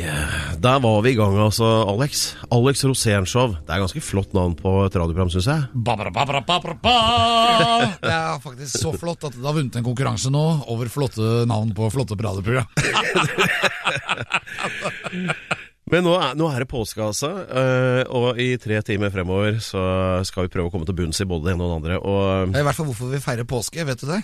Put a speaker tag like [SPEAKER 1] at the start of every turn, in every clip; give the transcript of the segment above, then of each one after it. [SPEAKER 1] Der var vi i gang, altså, Alex. Alex Rosénshow. Det er ganske flott navn på et radioprogram, syns jeg.
[SPEAKER 2] Det er faktisk så flott at det har vunnet en konkurranse nå over flotte navn på flotte radioprogram.
[SPEAKER 1] Men nå er, nå er det påske, altså. eh, Og i tre timer fremover så skal vi prøve å komme til bunns i både det ene og det andre. Og eh,
[SPEAKER 2] I hvert fall hvorfor vi feirer påske, vet du det?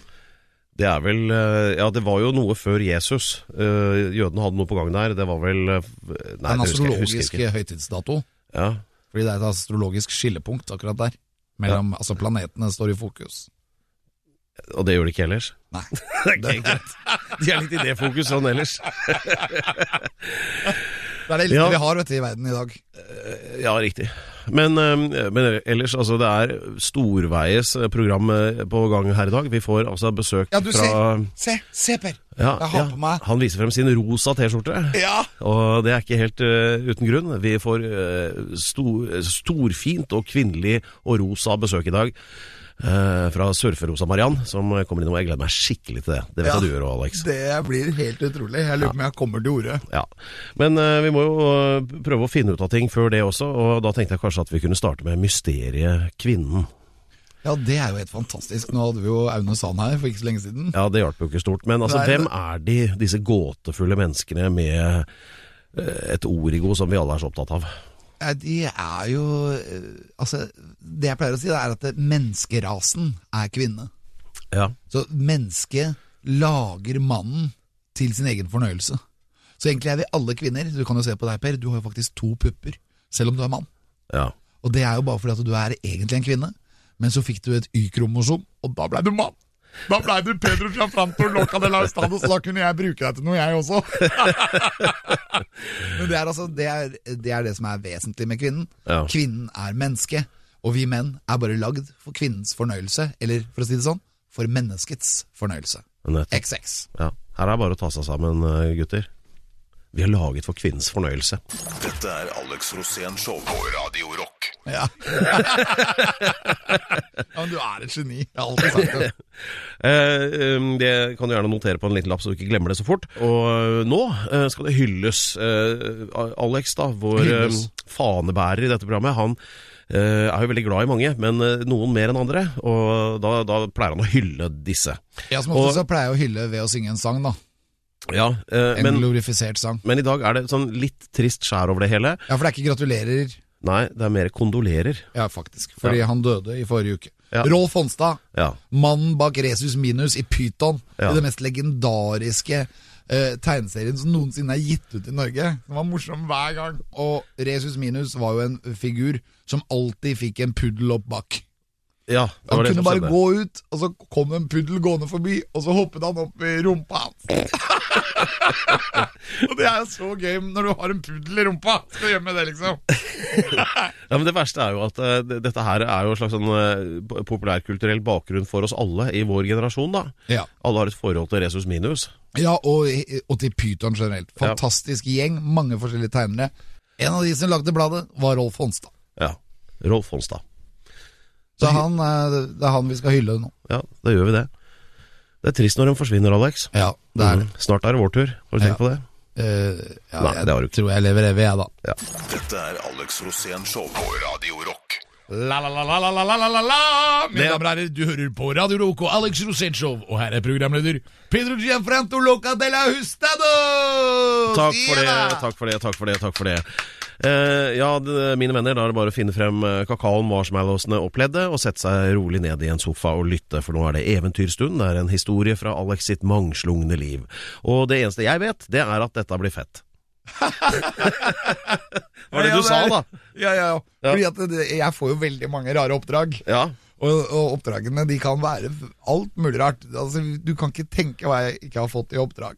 [SPEAKER 1] det er vel eh, Ja, det var jo noe før Jesus. Eh, Jødene hadde noe på gang der. Det var vel eh, Nei,
[SPEAKER 2] Det er en
[SPEAKER 1] det husker jeg- husker jeg
[SPEAKER 2] astrologisk
[SPEAKER 1] ikke.
[SPEAKER 2] høytidsdato,
[SPEAKER 1] Ja.
[SPEAKER 2] fordi det er et astrologisk skillepunkt akkurat der. Mellom, Altså planetene står i fokus.
[SPEAKER 1] Og det gjør det ikke ellers.
[SPEAKER 2] Nei.
[SPEAKER 1] Det er greit. De er litt i det fokuset sånn ellers.
[SPEAKER 2] Det er det lille
[SPEAKER 1] Ja.
[SPEAKER 2] vi har vet du, i verden i dag.
[SPEAKER 1] Ja, riktig. Men, eh, men ellers, altså det er storveies program eh, på gang her i dag. Vi får altså besøk
[SPEAKER 2] Ja, du
[SPEAKER 1] fra
[SPEAKER 2] Se, se Per!
[SPEAKER 1] Ja,
[SPEAKER 2] Jeg har
[SPEAKER 1] ja.
[SPEAKER 2] på meg-
[SPEAKER 1] Han viser frem sin rosa T-skjorte.
[SPEAKER 2] Ja!
[SPEAKER 1] Og det er ikke helt eh, uten grunn. Vi får eh, sto- storfint og kvinnelig og rosa besøk i dag. eh, fra Surferosa Mariann, som kommer innom. Jeg gleder meg skikkelig til det. Det vet jeg
[SPEAKER 2] Ja.
[SPEAKER 1] du gjør òg, Alex.
[SPEAKER 2] Det blir helt utrolig. Jeg lurer på om jeg kommer til orde.
[SPEAKER 1] Ja. Men eh, vi må jo eh, prøve å finne ut av ting før det også, og da tenkte jeg kanskje at vi kunne starte med mysteriet kvinnen.
[SPEAKER 2] Ja, det er jo helt fantastisk. Nå hadde vi jo Aune Sand her for ikke så lenge siden.
[SPEAKER 1] Ja, det hjalp jo ikke stort, men altså,
[SPEAKER 2] Nei,
[SPEAKER 1] hvem er de, disse gåtefulle menneskene med eh, et origo som vi alle er så opptatt av?
[SPEAKER 2] Ja, De er jo eh, Altså, det jeg pleier å si, det er at det- menneskerasen er kvinne.
[SPEAKER 1] Ja.
[SPEAKER 2] Så mennesket lager mannen til sin egen fornøyelse. Så egentlig er vi alle kvinner. Du kan jo se på deg, Per. Du har jo faktisk to pupper, selv om du er mann.
[SPEAKER 1] ja.
[SPEAKER 2] Og det er jo bare fordi at du er egentlig en kvinne, men så fikk du et Y-kromosom, og da blei du mann. Da blei du Pedro fra Frantor Loca de la Estado, så da kunne jeg bruke deg til noe, jeg også. men det er altså det er, det er det som er vesentlig med kvinnen.
[SPEAKER 1] Ja.
[SPEAKER 2] Kvinnen er menneske, og vi menn er bare lagd for kvinnens fornøyelse, eller for å si det sånn, for menneskets fornøyelse.
[SPEAKER 1] Nettopp.
[SPEAKER 2] XX.
[SPEAKER 1] ja. Her er det bare å ta seg sammen, eh, gutter. Vi er laget for kvinnens fornøyelse.
[SPEAKER 3] Dette er Alex Rosén Show på Radio Rock.
[SPEAKER 2] Ja. ja, men du er et geni. Jeg har alltid sagt det.
[SPEAKER 1] Eh, eh, det kan du gjerne notere på en liten lapp, så du ikke glemmer det så fort. Og eh, nå eh, skal det hylles. Eh, Alex, da, vår eh,
[SPEAKER 2] Hylles.
[SPEAKER 1] fanebærer i dette programmet, han eh, er jo veldig glad i mange, men eh, noen mer enn andre. Og da, da pleier han å hylle disse.
[SPEAKER 2] Ja, som ofte
[SPEAKER 1] Og-
[SPEAKER 2] så pleier jeg å hylle ved å synge en sang, da.
[SPEAKER 1] Ja, eh,
[SPEAKER 2] En
[SPEAKER 1] men,
[SPEAKER 2] glorifisert sang.
[SPEAKER 1] men i dag er det sånn litt trist skjær over det hele.
[SPEAKER 2] Ja, for det er ikke gratulerer,
[SPEAKER 1] Nei, det er mer kondolerer.
[SPEAKER 2] ja faktisk, fordi han døde i forrige uke.
[SPEAKER 1] Ja.
[SPEAKER 2] Rolf Honstad,
[SPEAKER 1] Ja.
[SPEAKER 2] mannen bak Resus Minus i Pyton,
[SPEAKER 1] Ja.
[SPEAKER 2] i den mest legendariske eh, tegneserien som noensinne er gitt ut i Norge. Den var morsom hver gang. Og Resus Minus var jo en figur som alltid fikk en puddel opp bak.
[SPEAKER 1] Ja, det
[SPEAKER 2] Han
[SPEAKER 1] var det
[SPEAKER 2] kunne
[SPEAKER 1] som
[SPEAKER 2] bare
[SPEAKER 1] skjedde.
[SPEAKER 2] gå ut, og så kom en puddel gående forbi, og så hoppet han opp i rumpa hans. og det er så gøy når du har en puddel i rumpa. Skal gjemme det, liksom.
[SPEAKER 1] Ja, men Det verste er jo at eh, det- dette her er jo en slags sånn eh, po- populærkulturell bakgrunn for oss alle i vår generasjon. da.
[SPEAKER 2] Ja,
[SPEAKER 1] Alle har et forhold til Resus Minus.
[SPEAKER 2] ja og, og til Pyton generelt. Fantastisk gjeng, mange forskjellige tegnere. En av de som lagde bladet, var Rolf Honstad.
[SPEAKER 1] Ja. Rolf Honstad.
[SPEAKER 2] Så han, eh, det er han vi skal hylle nå.
[SPEAKER 1] Ja, da gjør vi det. Det er trist når de forsvinner, Alex.
[SPEAKER 2] Ja, det er det.
[SPEAKER 1] Mhm. Snart er det vår tur. Har du tenkt
[SPEAKER 2] Ja.
[SPEAKER 1] på det?
[SPEAKER 2] Eh, ja,
[SPEAKER 1] Nei, det har du
[SPEAKER 2] jeg
[SPEAKER 1] ikke.
[SPEAKER 2] tror jeg lever evig, jeg, da.
[SPEAKER 3] Dette er Alex Rosén Show på Radio Rock.
[SPEAKER 2] La-la-la-la-la-la-la-la Mine damer og herrer, du hører på Radio Rock og Alex Rosenshov, og her er programleder Pedro Gianfranto Loca de la Hustado!
[SPEAKER 1] Takk for det, takk for det, takk for det. takk for det Eh, Ja, det, mine venner, da er det bare å finne frem eh, kakaoen, marshmallowsene og pleddet, og sette seg rolig ned i en sofa og lytte, for nå er det eventyrstund. Det er en historie fra Alex sitt mangslungne liv. Og det eneste jeg vet, det er at dette blir fett. Hva var det du sa, da?
[SPEAKER 2] Ja, ja, ja. Fordi at det, jeg får jo veldig mange rare oppdrag,
[SPEAKER 1] Ja.
[SPEAKER 2] og, og oppdragene de kan være alt mulig rart. Altså, du kan ikke tenke hva jeg ikke har fått i oppdrag.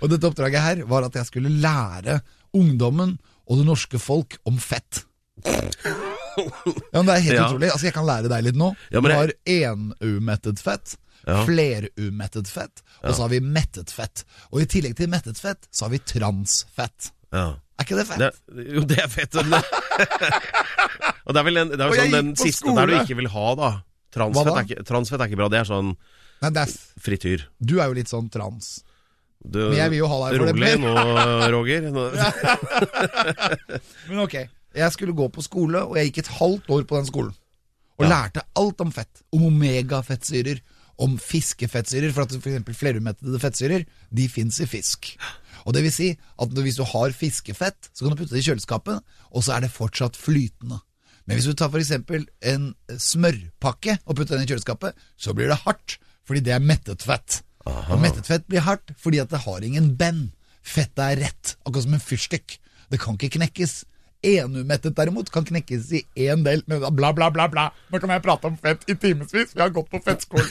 [SPEAKER 2] Og dette oppdraget her var at jeg skulle lære ungdommen og det norske folk om fett. Ja, men det er helt
[SPEAKER 1] Ja.
[SPEAKER 2] utrolig. Altså, jeg kan lære deg litt nå.
[SPEAKER 1] Ja,
[SPEAKER 2] du
[SPEAKER 1] men
[SPEAKER 2] har
[SPEAKER 1] jeg-
[SPEAKER 2] enumettet fett,
[SPEAKER 1] Ja.
[SPEAKER 2] flerumettet fett, og så har vi mettet fett. Og i tillegg til mettet fett, så har vi transfett.
[SPEAKER 1] Ja.
[SPEAKER 2] Er ikke det fett?
[SPEAKER 1] Det, jo, det er fett. Men... og det er vel den, det er
[SPEAKER 2] Og
[SPEAKER 1] jo
[SPEAKER 2] jeg
[SPEAKER 1] sånn den
[SPEAKER 2] gikk på
[SPEAKER 1] siste
[SPEAKER 2] skole.
[SPEAKER 1] der du ikke vil ha, da. Transfett
[SPEAKER 2] Hva da?
[SPEAKER 1] er, ikke, transfett er ikke bra. Det er sånn
[SPEAKER 2] Nei, det er, f-
[SPEAKER 1] frityr.
[SPEAKER 2] du er jo litt sånn trans.
[SPEAKER 1] Du,
[SPEAKER 2] Men jeg vil jo ha deg for det,
[SPEAKER 1] Rolig
[SPEAKER 2] Per.
[SPEAKER 1] nå, Roger. Nå,
[SPEAKER 2] Men ok, jeg skulle gå på skole, og jeg gikk et halvt år på den skolen. Og
[SPEAKER 1] Ja.
[SPEAKER 2] lærte alt om fett. Om omega-fettsyrer, om fiskefettsyrer. For at for eksempel flerumettede fettsyrer, de fins i fisk. Og det vil si at hvis du har fiskefett, så kan du putte det i kjøleskapet, og så er det fortsatt flytende. Men hvis du tar for eksempel en smørpakke og putter den i kjøleskapet, så blir det hardt, fordi det er mettet fett. Og mettet fett blir hardt fordi at det har ingen bend. Fettet er rett, akkurat som en fyrstikk. Det kan ikke knekkes. Enumettet derimot kan knekkes i én del, men da bla, bla, bla, bla. Nå kan jeg prate om fett i timevis, vi har gått på fettskolen.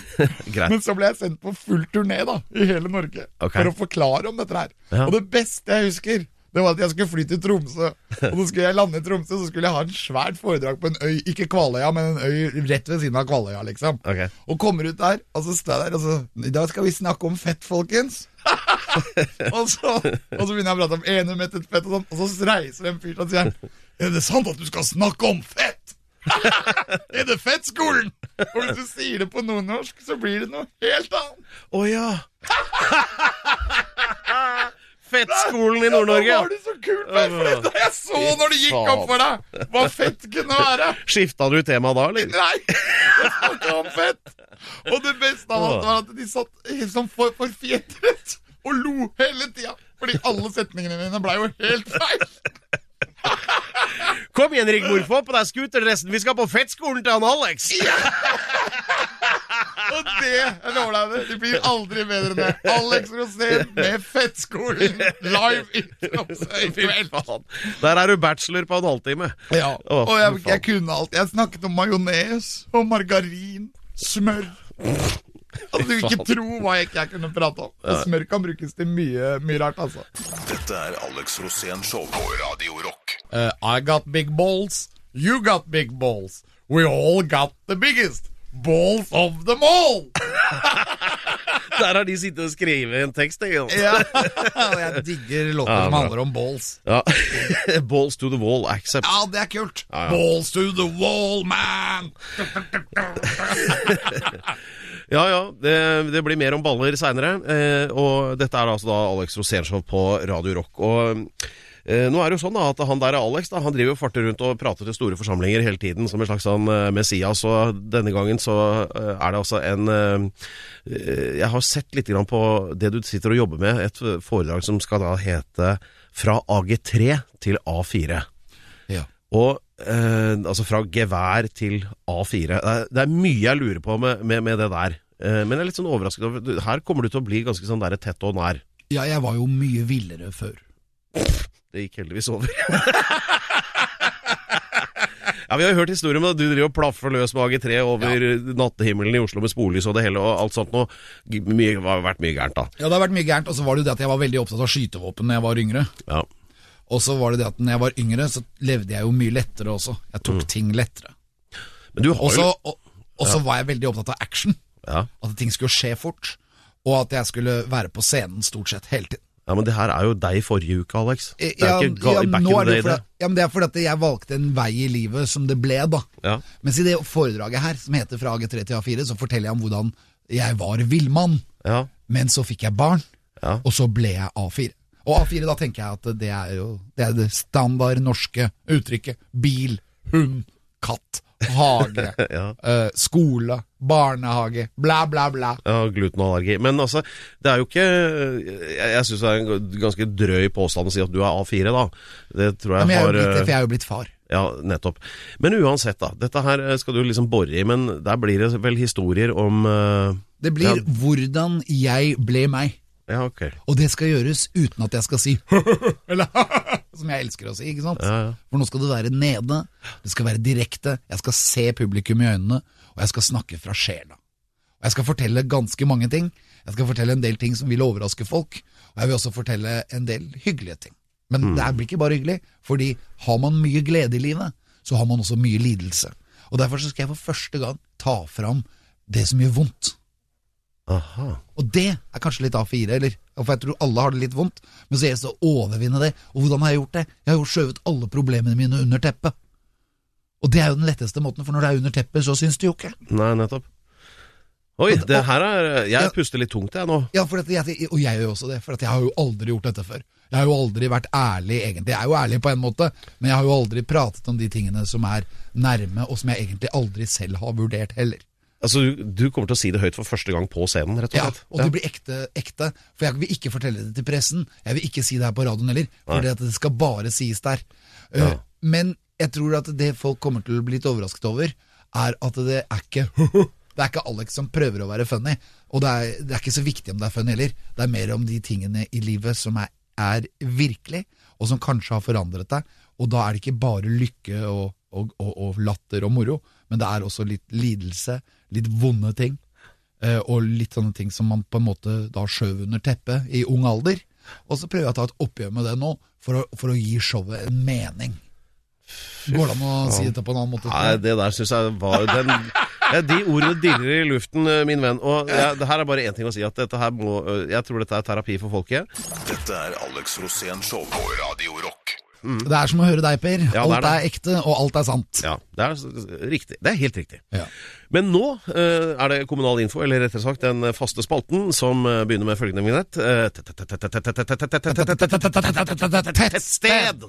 [SPEAKER 1] Greit.
[SPEAKER 2] Men så ble jeg sendt på full turné da, i hele Norge
[SPEAKER 1] Ok.
[SPEAKER 2] for å forklare om dette her.
[SPEAKER 1] Ja.
[SPEAKER 2] Og det beste jeg husker, det var at jeg skulle fly til Tromsø. Og så skulle jeg lande i Tromsø, så skulle jeg ha en svært foredrag på en øy, ikke Kvaløya, men en øy rett ved siden av Kvaløya, liksom.
[SPEAKER 1] Ok.
[SPEAKER 2] Og kommer ut der, og så står jeg der, og så I dag skal vi snakke om fett, folkens. og, så, og så begynner jeg å prate om enumettet fett og sånn, og så reiser det en fyr seg og sier Er det sant at du skal snakke om fett? er det fettskolen? Og hvis du sier det på nordnorsk, så blir det noe helt annet.
[SPEAKER 1] Å ja! Fettskolen i Nord-Norge.
[SPEAKER 2] Ja,
[SPEAKER 1] ja.
[SPEAKER 2] Var det så kult, Per, for det jeg så når det gikk opp for deg hva fett kunne være.
[SPEAKER 1] Skifta du tema da, eller?
[SPEAKER 2] Nei, jeg snakket om fett. Og det beste av alt var at de satt helt sånn for, forfjetret og lo hele tida. Fordi alle setningene mine blei jo helt feil.
[SPEAKER 1] Kom igjen, Rigmor, få på deg scooterdressen. Vi skal på fettskolen til han Alex.
[SPEAKER 2] Og det jeg lover deg det, det blir aldri bedre enn det. Alex Rosén med Fettskolen live i Tromsø i
[SPEAKER 1] Fy
[SPEAKER 2] kveld.
[SPEAKER 1] faen. Der er du bachelor på en halvtime.
[SPEAKER 2] Ja,
[SPEAKER 1] Å,
[SPEAKER 2] og jeg,
[SPEAKER 1] fy faen.
[SPEAKER 2] jeg kunne alt. Jeg snakket om majones og margarin, smør Altså, Du vil ikke tro hva jeg ikke jeg kunne prate om. Og smør kan brukes til mye, mye rart, altså.
[SPEAKER 3] Dette er Alex Rosén Show på Radio Rock.
[SPEAKER 2] Eh, I got big balls, you got big balls. We all got the biggest balls of them all!
[SPEAKER 1] Der har de sittet og skrevet en tekst. Jeg.
[SPEAKER 2] Ja, og jeg digger låter
[SPEAKER 1] Ja,
[SPEAKER 2] som
[SPEAKER 1] bra.
[SPEAKER 2] handler om balls.
[SPEAKER 1] Ja. Balls to the wall, accept.
[SPEAKER 2] Ja, det er kult.
[SPEAKER 1] ja.
[SPEAKER 2] Balls to the wall, man!
[SPEAKER 1] Ja, ja. Det, det blir mer om baller seinere. Eh, og dette er altså da Alex Rosénshow på Radio Rock. Og eh, nå er det jo sånn da at han der er Alex. da Han driver og farter rundt og prater til store forsamlinger hele tiden som en slags sånn eh, Messias. Og denne gangen så eh, er det altså en eh, eh, Jeg har sett litt grann på det du sitter og jobber med. Et foredrag som skal da hete Fra AG3 til A4.
[SPEAKER 2] Ja.
[SPEAKER 1] Og eh, altså fra gevær til A4. Det er, det er mye jeg lurer på med, med, med det der. Eh, men jeg er litt sånn overrasket over du- Her kommer du til å bli ganske sånn der tett og nær.
[SPEAKER 2] Ja, jeg var jo mye villere før.
[SPEAKER 1] Det gikk heldigvis over. Ja, Vi har jo hørt historier om at du driver og plaffer løs med AG3 over nattehimmelen i Oslo med sporlys og det hele og alt sånt noe. G- Mye, har vært mye gærent, da.
[SPEAKER 2] Ja, det har vært mye gærent, og så var det jo det at jeg var veldig opptatt av skytevåpen når jeg var yngre.
[SPEAKER 1] Ja.
[SPEAKER 2] Og så var det det at når jeg var yngre, så levde jeg jo mye lettere også. Jeg tok
[SPEAKER 1] Mm.
[SPEAKER 2] ting lettere.
[SPEAKER 1] Men du har
[SPEAKER 2] Og så
[SPEAKER 1] jo
[SPEAKER 2] og- og så var jeg veldig opptatt av action.
[SPEAKER 1] ja.
[SPEAKER 2] At ting skulle skje fort. Og at jeg skulle være på scenen stort sett hele tiden.
[SPEAKER 1] ja, men det her er jo deg i forrige uke, Alex. Det er
[SPEAKER 2] Eh, Ja,
[SPEAKER 1] ikke ga,
[SPEAKER 2] ja,
[SPEAKER 1] back
[SPEAKER 2] nå
[SPEAKER 1] in
[SPEAKER 2] er
[SPEAKER 1] the day,
[SPEAKER 2] det jo fordi-
[SPEAKER 1] det.
[SPEAKER 2] Ja, men det er fordi at jeg valgte en vei i livet som det ble, da.
[SPEAKER 1] Ja.
[SPEAKER 2] Mens i det foredraget her, som heter Fra AG3 til A4, så forteller jeg om hvordan jeg var villmann.
[SPEAKER 1] Ja.
[SPEAKER 2] Men så fikk jeg barn,
[SPEAKER 1] Ja.
[SPEAKER 2] og så ble jeg A4. Og A4, da tenker jeg at det er jo det, er det standard norske uttrykket. Bil, hund, katt, hage,
[SPEAKER 1] Ja.
[SPEAKER 2] eh, skole, barnehage, bla, bla, bla.
[SPEAKER 1] Ja, glutenallergi. Men altså, det er jo ikke Jeg, jeg syns det er en ganske drøy påstand å si at du er A4, da. Det tror
[SPEAKER 2] Ja,
[SPEAKER 1] jeg
[SPEAKER 2] men jeg er jo
[SPEAKER 1] har
[SPEAKER 2] blitt det, for
[SPEAKER 1] eh,
[SPEAKER 2] jeg er jo blitt far.
[SPEAKER 1] Ja, nettopp. Men uansett, da. Dette her skal du liksom bore i, men der blir det vel historier om eh,
[SPEAKER 2] Det blir
[SPEAKER 1] ja,
[SPEAKER 2] hvordan jeg ble meg.
[SPEAKER 1] ja, ok.
[SPEAKER 2] Og det skal gjøres uten at jeg skal si eller som jeg elsker å si, ikke sant?
[SPEAKER 1] Ja, ja.
[SPEAKER 2] For nå skal det være nede, det skal være direkte, jeg skal se publikum i øynene, og jeg skal snakke fra sjela. Og jeg skal fortelle ganske mange ting. Jeg skal fortelle en del ting som vil overraske folk, og jeg vil også
[SPEAKER 1] Mm.
[SPEAKER 2] fortelle en del hyggelige ting. Men det her blir ikke bare hyggelig, fordi har man mye glede i livet, så har man også mye lidelse. Og Derfor så skal jeg for første gang ta fram det som gjør vondt.
[SPEAKER 1] Aha.
[SPEAKER 2] Og det er kanskje litt A4, eller? For jeg tror alle har det litt vondt. Men så er jeg så overvinne det. Og hvordan har jeg gjort det? Jeg har jo skjøvet alle problemene mine under teppet. Og det er jo den letteste måten, for når det er under teppet, så syns du jo ikke.
[SPEAKER 1] Nei, nettopp. Oi, det her er
[SPEAKER 2] Ja.
[SPEAKER 1] Jeg puster litt tungt, jeg nå.
[SPEAKER 2] Ja, for at jeg, og jeg gjør jo også det, for at jeg har jo aldri gjort dette før. Jeg har jo aldri vært ærlig, egentlig. Jeg er jo ærlig på en måte, men jeg har jo aldri pratet om de tingene som er nærme, og som jeg egentlig aldri selv har vurdert heller.
[SPEAKER 1] Altså, du, du kommer til å si det høyt for første gang på scenen, rett og
[SPEAKER 2] Ja,
[SPEAKER 1] slett.
[SPEAKER 2] og det blir ekte, ekte. For jeg vil ikke fortelle det til pressen. Jeg vil ikke si det her på radioen heller, for
[SPEAKER 1] Nei.
[SPEAKER 2] det, at det skal bare sies der. Uh,
[SPEAKER 1] Ja.
[SPEAKER 2] Men jeg tror at det folk kommer til å bli litt overrasket over, er at det er ikke Det er ikke Alex som prøver å være funny, og det er, det er ikke så viktig om det er funny heller. Det er mer om de tingene i livet som er, er virkelig, og som kanskje har forandret deg. Og da er det ikke bare lykke og, og, og, og latter og moro, men det er også litt lidelse, litt vonde ting. Eh, og litt sånne ting som man på en måte da skjøv under teppet i ung alder. Og så prøver jeg å ta et oppgjør med det nå, for å, for å gi showet en mening. Går det an å si dette på en annen måte?
[SPEAKER 1] Nei, det der syns jeg var den, ja, De ordene dirrer i luften, eh, min venn. Og ja, det her er bare én ting å si, at dette her må eh, Jeg tror dette er terapi for folket.
[SPEAKER 3] Dette er Alex Rosén Show på Radio Rock.
[SPEAKER 2] Det er som å høre deg, Per.
[SPEAKER 1] Ja, det er
[SPEAKER 2] alt er, ekte, og alt er sant.
[SPEAKER 1] Ja, det er s- riktig. Det er helt riktig.
[SPEAKER 2] Ja.
[SPEAKER 1] Men nå eh, er det kommunal info, eller rettere sagt den faste spalten, som eh, begynner med følgende vignett. Eh, Tettsted!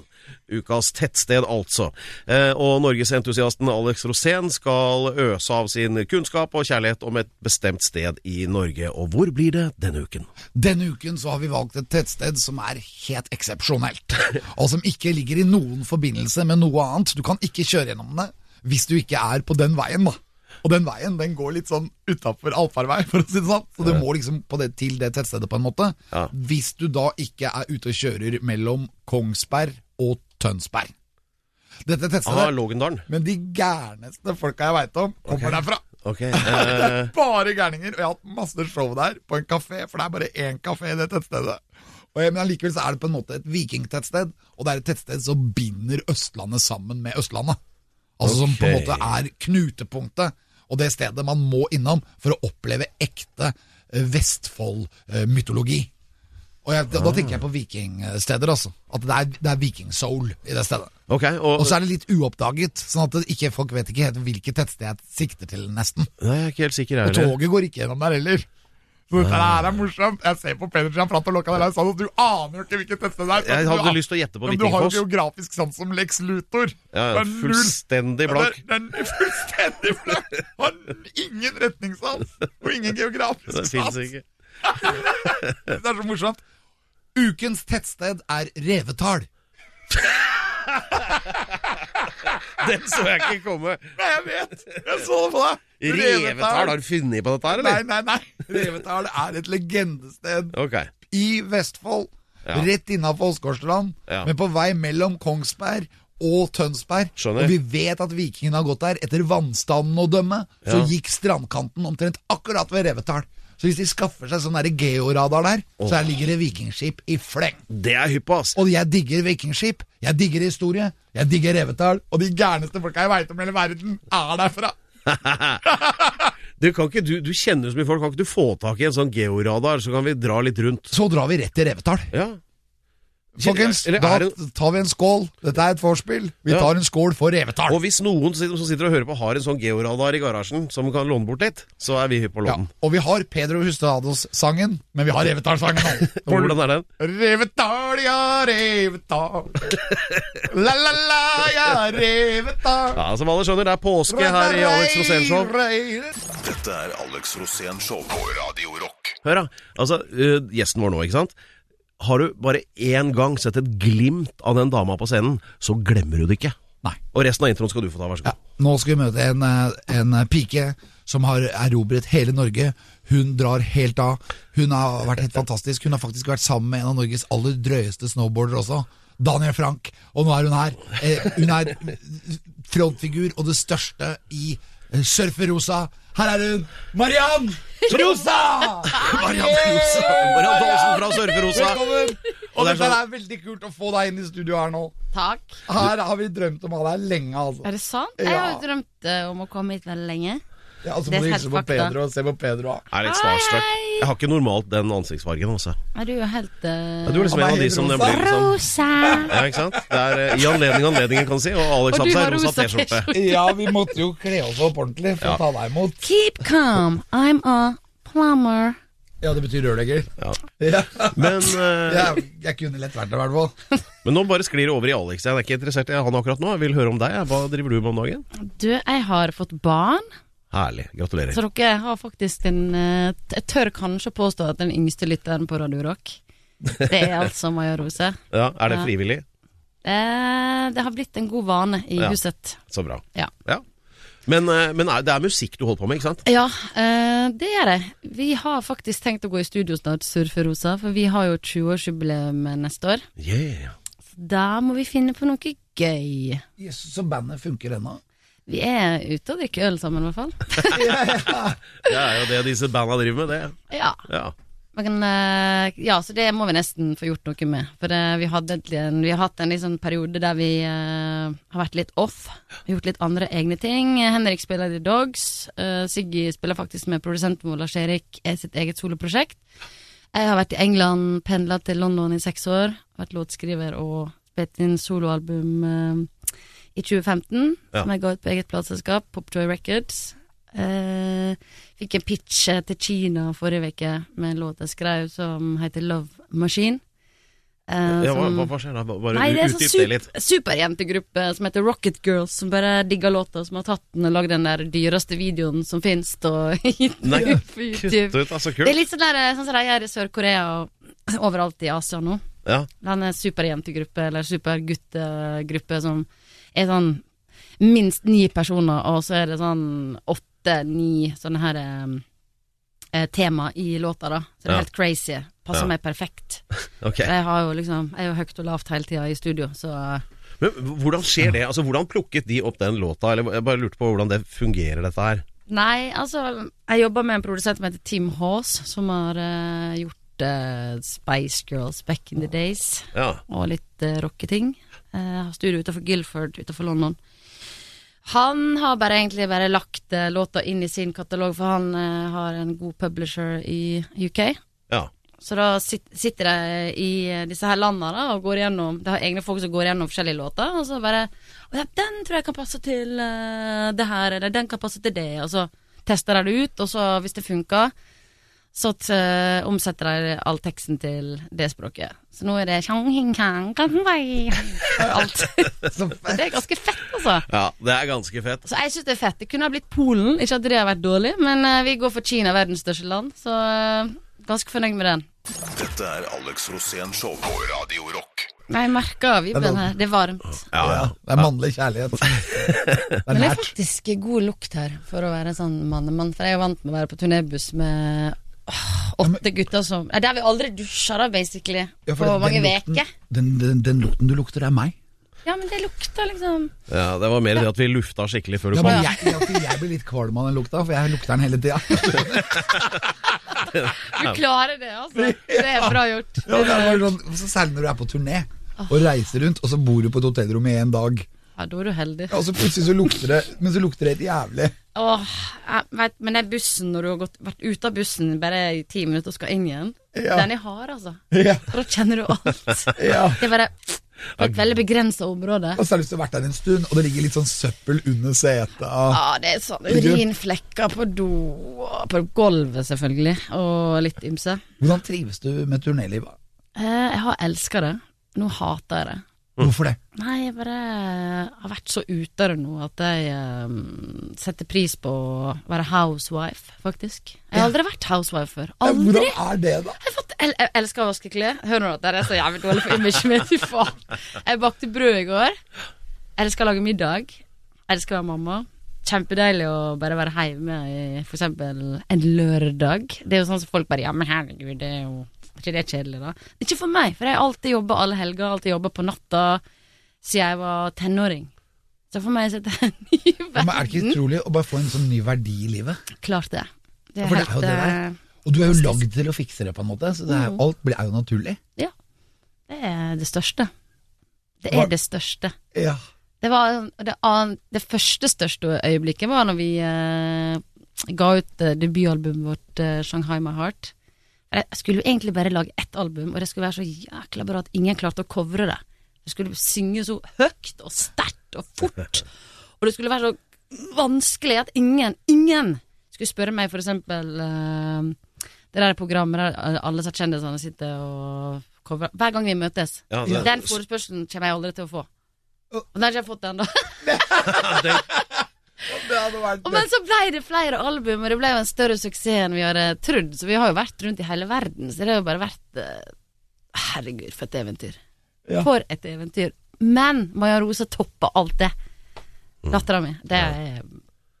[SPEAKER 1] Ukas tettsted, altså. Eh, Og norgesentusiasten Alex Rosén skal øse av sin kunnskap og kjærlighet om et bestemt sted i Norge. Og hvor blir det denne uken?
[SPEAKER 2] Denne uken så har vi valgt et tettsted som er helt eksepsjonelt, og som ikke ligger i noen forbindelse med noe annet. Du kan ikke kjøre gjennom det hvis du ikke er på den veien, da. Og den veien den går litt sånn utafor allfarvei, for å si det sånn. Så du må liksom på det, til det tettstedet, på en måte.
[SPEAKER 1] Ja.
[SPEAKER 2] Hvis du da ikke er ute og kjører mellom Kongsberg og Tønsberg. Dette
[SPEAKER 1] Ah,
[SPEAKER 2] tettstedet
[SPEAKER 1] Lågendalen.
[SPEAKER 2] Men de gærneste folka jeg veit om, kommer derfra.
[SPEAKER 1] Ok. eh,
[SPEAKER 2] Bare gærninger. Og jeg har hatt masse show der, på en kafé, for det er bare én kafé i det tettstedet. Og jeg, men allikevel så er det på en måte et vikingtettsted, og det er et tettsted som binder Østlandet sammen med Østlandet. Altså som på en
[SPEAKER 1] Ok.
[SPEAKER 2] måte er knutepunktet, og det stedet man må innom for å oppleve ekte eh, Vestfold-mytologi. Og jeg, da, da tenker jeg på vikingsteder, altså. At det er, det er vikingsoul i det stedet.
[SPEAKER 1] ok, og,
[SPEAKER 2] Og så er det litt uoppdaget, sånn at det ikke, folk vet ikke helt hvilket tettsted jeg sikter til, nesten.
[SPEAKER 1] Nei, jeg er ikke helt sikker, jeg
[SPEAKER 2] Og toget går ikke gjennom der heller. Så dette
[SPEAKER 1] Ah.
[SPEAKER 2] her er morsomt. Jeg ser på Pedersen fra Tolokka der, sånn at du aner jo ikke hvilket tettsted det er.
[SPEAKER 1] Jeg
[SPEAKER 2] Du
[SPEAKER 1] hadde
[SPEAKER 2] an-
[SPEAKER 1] lyst til å gjette på
[SPEAKER 2] Men Du har jo
[SPEAKER 1] Vikingfoss.
[SPEAKER 2] geografisk sans som Lex Luthor.
[SPEAKER 1] Ja,
[SPEAKER 2] Det er null-
[SPEAKER 1] fullstendig blank.
[SPEAKER 2] Ja, det er- det er Fullstendig blank. Har ingen retningssans og ingen geografisk
[SPEAKER 1] Det
[SPEAKER 2] sans.
[SPEAKER 1] fins ikke.
[SPEAKER 2] Det er så morsomt. Ukens tettsted er Revetal.
[SPEAKER 1] Den så jeg ikke komme.
[SPEAKER 2] Nei, jeg vet! Jeg så det på deg.
[SPEAKER 1] Revetal, har du funnet på dette her,
[SPEAKER 2] Nei,
[SPEAKER 1] eller?
[SPEAKER 2] nei, nei. Revetal er et legendested.
[SPEAKER 1] Ok.
[SPEAKER 2] i Vestfold,
[SPEAKER 1] Ja.
[SPEAKER 2] rett innafor Åsgårdstrand,
[SPEAKER 1] Ja.
[SPEAKER 2] men på vei mellom Kongsberg og Tønsberg.
[SPEAKER 1] Skjønner.
[SPEAKER 2] Og vi vet at vikingene har gått der. Etter vannstanden å dømme, så
[SPEAKER 1] Ja.
[SPEAKER 2] gikk strandkanten omtrent akkurat ved Revetal. Så hvis de skaffer seg sånn der georadar der, så her ligger det vikingskip i fleng.
[SPEAKER 1] Det er hypp, ass.
[SPEAKER 2] Og jeg digger vikingskip, jeg digger historie, jeg digger Revetal, og de gærneste folka jeg veit om i hele verden, er derfra.
[SPEAKER 1] Du, kan ikke, du, du kjenner jo så mye folk, kan ikke du få tak i en sånn georadar, så kan vi dra litt rundt?
[SPEAKER 2] Så drar vi rett til Revetal.
[SPEAKER 1] Ja.
[SPEAKER 2] Folkens,
[SPEAKER 1] Eller
[SPEAKER 2] da
[SPEAKER 1] er det-
[SPEAKER 2] tar vi en skål. Dette er et vorspiel. Vi
[SPEAKER 1] Ja.
[SPEAKER 2] tar en skål for Revetal.
[SPEAKER 1] Og hvis noen sit- som sitter og hører på har en sånn georadar i garasjen som kan låne bort litt, så er vi hypp på å
[SPEAKER 2] Ja,
[SPEAKER 1] låne den.
[SPEAKER 2] og vi har Pedro Hustados-sangen, men vi har Revetal-sangen nå.
[SPEAKER 1] Og Hvordan er den?
[SPEAKER 2] Revetal, ja, Revetal. La, la, la, ja, Revetal.
[SPEAKER 1] Ja, Som alle skjønner, det er påske her i Alex Rosén Show.
[SPEAKER 3] Dette er Alex Rosén Show på Radio Rock.
[SPEAKER 1] Hør, da. Altså, øh, gjesten vår nå, ikke sant. Har du bare én gang sett et glimt av den dama på scenen, så glemmer du det ikke.
[SPEAKER 2] Nei.
[SPEAKER 1] Og resten av introen skal du få ta, vær så
[SPEAKER 2] Ja,
[SPEAKER 1] god.
[SPEAKER 2] nå skal vi møte en, eh, en eh, pike som har erobret hele Norge. Hun drar helt av. Hun har vært helt fantastisk. Hun har faktisk vært sammen med en av Norges aller drøyeste snowboardere også. Daniel Frank. Og nå er hun her. Eh, hun er frontfigur og det største i Surferosa. Her er hun! Mariann Rosa! Mariann
[SPEAKER 1] Mariann Dahlsen fra Surferosa.
[SPEAKER 2] Velkommen!
[SPEAKER 1] Og
[SPEAKER 2] Og
[SPEAKER 1] det er
[SPEAKER 2] dette
[SPEAKER 1] sånn-
[SPEAKER 2] er veldig kult å få deg inn i studio her nå.
[SPEAKER 4] Takk.
[SPEAKER 2] Her har vi drømt om å ha deg lenge, altså.
[SPEAKER 4] Er det sant? Jeg har
[SPEAKER 2] Ja.
[SPEAKER 4] jo drømt eh, om å komme hit veldig lenge.
[SPEAKER 2] Ja, altså
[SPEAKER 4] det
[SPEAKER 2] må
[SPEAKER 4] er
[SPEAKER 2] du hilse på
[SPEAKER 4] helt fakta.
[SPEAKER 2] Pedro og se på Pedro. også.
[SPEAKER 1] Jeg er litt
[SPEAKER 4] Hei,
[SPEAKER 1] starstruck.
[SPEAKER 4] hei.
[SPEAKER 1] Jeg har ikke normalt den ansiktsfargen. Altså.
[SPEAKER 4] Er du jo helt eh,
[SPEAKER 1] Ja, Du er liksom en av de som det blir liksom
[SPEAKER 4] Rosa!
[SPEAKER 1] ja, ikke sant? Det er eh, i anledning anledningen, kan du si. Og
[SPEAKER 4] Og du
[SPEAKER 1] Alex har på seg
[SPEAKER 4] har
[SPEAKER 1] rosa
[SPEAKER 4] rosa
[SPEAKER 1] T-skjorte.
[SPEAKER 2] Ja, vi måtte jo kle oss opp ordentlig for å ta deg imot.
[SPEAKER 4] Keep calm, I'm a plumber.
[SPEAKER 2] Ja, det betyr rørlegger.
[SPEAKER 1] Ja.
[SPEAKER 2] Ja.
[SPEAKER 1] Men, eh,
[SPEAKER 2] Jeg, jeg kunne lett vært det, i hvert fall.
[SPEAKER 1] men nå bare sklir det over i Alex. Jeg er ikke interessert i han akkurat nå. Jeg vil høre om deg. Hva driver du med om dagen?
[SPEAKER 4] Du, jeg har fått barn,
[SPEAKER 1] Herlig. Gratulerer.
[SPEAKER 4] så dere har faktisk en eh, t- Jeg tør kanskje påstå at den yngste lytteren på Radio Rock. Det er altså Maja Rose.
[SPEAKER 1] Ja, er det
[SPEAKER 4] Ja.
[SPEAKER 1] frivillig?
[SPEAKER 4] Eh, det har blitt en god vane i
[SPEAKER 1] Ja.
[SPEAKER 4] huset.
[SPEAKER 1] Så bra.
[SPEAKER 4] Ja.
[SPEAKER 1] Ja. Men, eh, men er- det er musikk du holder på med, ikke sant?
[SPEAKER 4] Ja, eh, det er det. Vi har faktisk tenkt å gå i studio snart, Surferosa, for vi har jo 20-årsjubileum neste år.
[SPEAKER 1] Yeah.
[SPEAKER 4] Da må vi finne på noe gøy.
[SPEAKER 2] Jesus, så bandet funker ennå.
[SPEAKER 4] Vi er ute og drikker øl sammen, i hvert fall.
[SPEAKER 1] Det er jo det disse banda driver med, det.
[SPEAKER 4] Ja.
[SPEAKER 1] Ja.
[SPEAKER 4] Men, eh, ja, så det må vi nesten få gjort noe med. For eh, vi, hadde egentlig en, vi har hatt en litt sånn periode der vi eh, har vært litt off. Vi har gjort litt andre egne ting. Henrik spiller i Dogs. eh, Siggy spiller faktisk med produsenten vår, Lars-Erik, er sitt eget soloprosjekt. Jeg har vært i England, pendla til London i seks år. Vært låtskriver og spilt inn soloalbum eh, i 2015,
[SPEAKER 1] Ja.
[SPEAKER 4] som jeg ga ut på eget plateselskap, Popjoy Records. Eh, fikk en pitch eh, til Kina forrige uke med en låt jeg skrev som heter Love Machine. Eh,
[SPEAKER 1] ja hva,
[SPEAKER 4] som-
[SPEAKER 1] hva, hva skjer da? Hva- Bare
[SPEAKER 4] Nei, det er
[SPEAKER 1] utdyp
[SPEAKER 4] sånn
[SPEAKER 1] det
[SPEAKER 4] super,
[SPEAKER 1] litt.
[SPEAKER 4] superjentegruppe som heter Rocket Girls, som bare digger låta, som har tatt den og lagd den der dyreste videoen som fins, og gitt den
[SPEAKER 1] Nei,
[SPEAKER 4] ut på
[SPEAKER 1] Kutt
[SPEAKER 4] YouTube.
[SPEAKER 1] ut, altså.
[SPEAKER 4] Det er
[SPEAKER 1] Kult.
[SPEAKER 4] litt sånn, der, eh, sånn som de gjør i Sør-Korea og overalt i Asia nå.
[SPEAKER 1] Ja.
[SPEAKER 4] Den er superjentegruppe, eller superguttegruppe, som er sånn minst ni personer, og så er det sånn åtte-ni sånne her eh, tema i låta, da. Så det er
[SPEAKER 1] Ja.
[SPEAKER 4] helt crazy. Passer
[SPEAKER 1] Ja.
[SPEAKER 4] meg perfekt.
[SPEAKER 1] Ok.
[SPEAKER 4] Jeg har jo liksom Jeg er jo høyt og lavt hele tida i studio, så eh.
[SPEAKER 1] Men hvordan skjer det? Altså, hvordan plukket de opp den låta? Eller, jeg bare lurte på hvordan det fungerer, dette her.
[SPEAKER 4] Nei, altså Jeg jobber med en produsent som heter Tim Haas, som har eh, gjort eh, Spice Girls back in the days.
[SPEAKER 1] Ja.
[SPEAKER 4] og litt uh, rocketing. Eh, har studio utenfor Guilford, utenfor London. Han har bare egentlig bare lagt eh, låta inn i sin katalog, for han eh, har en god publisher i UK.
[SPEAKER 1] ja.
[SPEAKER 4] Så da sit, sitter de i eh, disse her landa da, og går gjennom De har egne folk som går gjennom forskjellige låter, og så bare «Å ja, 'Den tror jeg kan passe til eh, det her', eller 'Den kan passe til det', og så tester de det ut, og så, hvis det funker, så t, eh, omsetter de all teksten til det språket. Så nå er det Alt.
[SPEAKER 2] Så fett.
[SPEAKER 4] Det er ganske fett, altså.
[SPEAKER 1] ja. Det er ganske fett.
[SPEAKER 4] Så jeg syns det er fett. Det kunne ha blitt Polen, ikke at det har vært dårlig, men eh, vi går for Kina, verdens største land, så eh, ganske fornøyd med den.
[SPEAKER 3] Dette er Alex Rosén Show på Radio Rock.
[SPEAKER 4] Nei, Jeg merker vibben her. Det er varmt.
[SPEAKER 1] Ja, ja.
[SPEAKER 2] Det er mannlig kjærlighet. Det
[SPEAKER 4] Men
[SPEAKER 2] er
[SPEAKER 4] det er
[SPEAKER 2] nært.
[SPEAKER 4] faktisk god lukt her, for å være en sånn mannemann. For jeg er jo vant med å være på turnébuss med åh, åtte gutter som Nei, Der vi aldri dusjer, da, basically.
[SPEAKER 2] Ja, for
[SPEAKER 4] på
[SPEAKER 2] den
[SPEAKER 4] mange
[SPEAKER 2] lukten-
[SPEAKER 4] uker.
[SPEAKER 2] Den, den, den lukten du lukter, er meg.
[SPEAKER 4] Ja, men det lukter liksom
[SPEAKER 1] ja det var mer det at vi lufta skikkelig før du
[SPEAKER 2] Ja,
[SPEAKER 1] kom.
[SPEAKER 2] men jeg, jeg, jeg blir litt kvalm av den lukta, for jeg lukter den hele tida.
[SPEAKER 4] Du klarer det, altså. Det er bra gjort.
[SPEAKER 2] Ja, det er bare sånn, så særlig når du er på turné og reiser rundt, og så bor du på et hotellrom i en dag.
[SPEAKER 4] Ja, da er du heldig.
[SPEAKER 2] Ja, Og så plutselig så lukter det Men så lukter det helt jævlig.
[SPEAKER 4] Åh, jeg vet, men den bussen når du har gått, vært ute av bussen bare i ti minutter og skal inn igjen,
[SPEAKER 2] Ja.
[SPEAKER 4] den er hard, altså.
[SPEAKER 2] Ja,
[SPEAKER 4] For da kjenner du alt.
[SPEAKER 2] ja.
[SPEAKER 4] Det er bare på et veldig begrensa område.
[SPEAKER 2] Og så har du lyst til å vært der en stund, og det ligger litt sånn søppel under setet. og-
[SPEAKER 4] Ja, det er sånn urinflekker på do og På gulvet, selvfølgelig, og litt ymse.
[SPEAKER 2] Hvordan trives du med turnélivet?
[SPEAKER 4] Eh, Jeg har elska det. Nå hater jeg det.
[SPEAKER 2] Hvorfor det?
[SPEAKER 4] Nei, jeg bare har vært så ute av det nå at jeg eh, setter pris på å være housewife, faktisk. Jeg har aldri vært housewife før.
[SPEAKER 2] Ja,
[SPEAKER 4] Aldri!
[SPEAKER 2] Hvordan er det, da?
[SPEAKER 4] Jeg, fant, jeg, jeg elsker å vaske klær. Hør nå, det er så jævlig dårlig for imaget mitt. fy faen. Jeg bakte brød i går. Jeg elsker å lage middag. Jeg elsker å være mamma. Kjempedeilig å bare være hjemme i for eksempel en lørdag. Det er jo sånn som folk bare Ja, men herregud, det er jo ikke det kjedelig, da? Ikke for meg, for jeg har alltid jobba alle helger, alltid jobba på natta siden jeg var tenåring. Så for meg så er det en ny
[SPEAKER 2] Ja, Men er det ikke
[SPEAKER 4] verden.
[SPEAKER 2] utrolig å bare få en sånn ny verdi i livet?
[SPEAKER 4] Klart det. Det
[SPEAKER 2] For det er jo det
[SPEAKER 4] eh,
[SPEAKER 2] der. Og du er jo lagd til å fikse det på en måte, så det
[SPEAKER 4] Mm.
[SPEAKER 2] er, alt blir- er jo naturlig.
[SPEAKER 4] Ja. eh, Det er det største. Det
[SPEAKER 2] Hva-
[SPEAKER 4] er det største.
[SPEAKER 2] Ja.
[SPEAKER 4] Det, var, det, an- det første største øyeblikket var når vi eh, ga ut eh, debutalbumet vårt, eh, 'Shanghai My Heart'. Jeg skulle jo egentlig bare lage ett album, og det skulle være så jækla bra at ingen klarte å covre det. Det skulle synge så høyt og sterkt og fort, og det skulle være så vanskelig at ingen, ingen skulle spørre meg, for eksempel eh, det der programmet der alle sa kjendisene sitter og covrer Hver gang vi møtes.
[SPEAKER 1] Ja, det-
[SPEAKER 4] Den forespørselen kommer jeg aldri til å få. Og den har ikke jeg fått ennå.
[SPEAKER 2] Det hadde vært
[SPEAKER 4] Og Men så ble det flere album, og det ble jo en større suksess enn vi hadde trodd. Så vi har jo vært rundt i hele verden, så det har jo bare vært eh, Herregud, for et eventyr.
[SPEAKER 2] Ja.
[SPEAKER 4] For et eventyr. Men Maja Rosa topper alt det.
[SPEAKER 1] Mm.
[SPEAKER 4] Dattera mi. Det er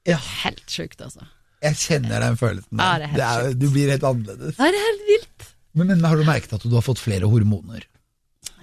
[SPEAKER 2] Ja.
[SPEAKER 4] helt sjukt, altså.
[SPEAKER 2] Jeg kjenner den følelsen. der.
[SPEAKER 4] Ja, det er helt
[SPEAKER 2] det er, du blir helt annerledes.
[SPEAKER 4] Nei, det er helt vilt.
[SPEAKER 2] Men, men har du merket at du har fått flere hormoner?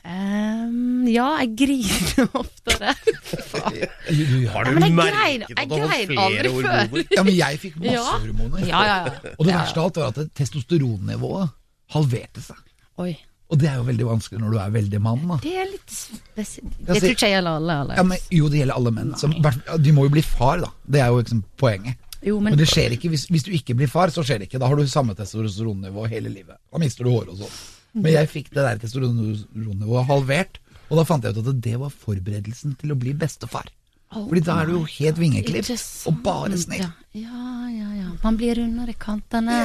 [SPEAKER 4] Ehm, ja, jeg griner oftere.
[SPEAKER 2] Du, du, ja.
[SPEAKER 1] Har
[SPEAKER 4] Ja,
[SPEAKER 1] du
[SPEAKER 4] men jeg grein-
[SPEAKER 1] merket
[SPEAKER 4] jeg
[SPEAKER 1] at du har fått
[SPEAKER 4] grein
[SPEAKER 1] flere
[SPEAKER 4] aldri
[SPEAKER 1] hormoner?
[SPEAKER 2] ja, men jeg fikk masse
[SPEAKER 4] Ja.
[SPEAKER 2] hormoner.
[SPEAKER 4] Ja, ja, ja.
[SPEAKER 2] Og det verste av alt var at testosteronnivået halverte seg.
[SPEAKER 4] Oi.
[SPEAKER 2] Og det er jo veldig vanskelig når du er veldig mann. Da.
[SPEAKER 4] Det er litt spesielt.
[SPEAKER 2] Ja,
[SPEAKER 4] Jeg
[SPEAKER 2] så-
[SPEAKER 4] tror ikke jeg gjelder alle.
[SPEAKER 2] Altså, Ja,
[SPEAKER 4] Alex.
[SPEAKER 2] men, jo, det gjelder alle menn. Som, hvert- de må jo bli far, da. Det er jo liksom poenget.
[SPEAKER 4] Jo, men
[SPEAKER 2] Men det skjer ikke, hvis, hvis du ikke blir far, så skjer det ikke. Da har du samme testosteronnivå hele livet. Da mister du håret og sånn. Men jeg fikk det der testosteronnivået halvert, og da fant jeg ut at det var forberedelsen til å bli bestefar. Fordi da er du jo helt vingeklipp
[SPEAKER 4] Oh Ikke sant.
[SPEAKER 2] og bare snill.
[SPEAKER 4] Ja, ja, ja. Man blir rundere i kantene.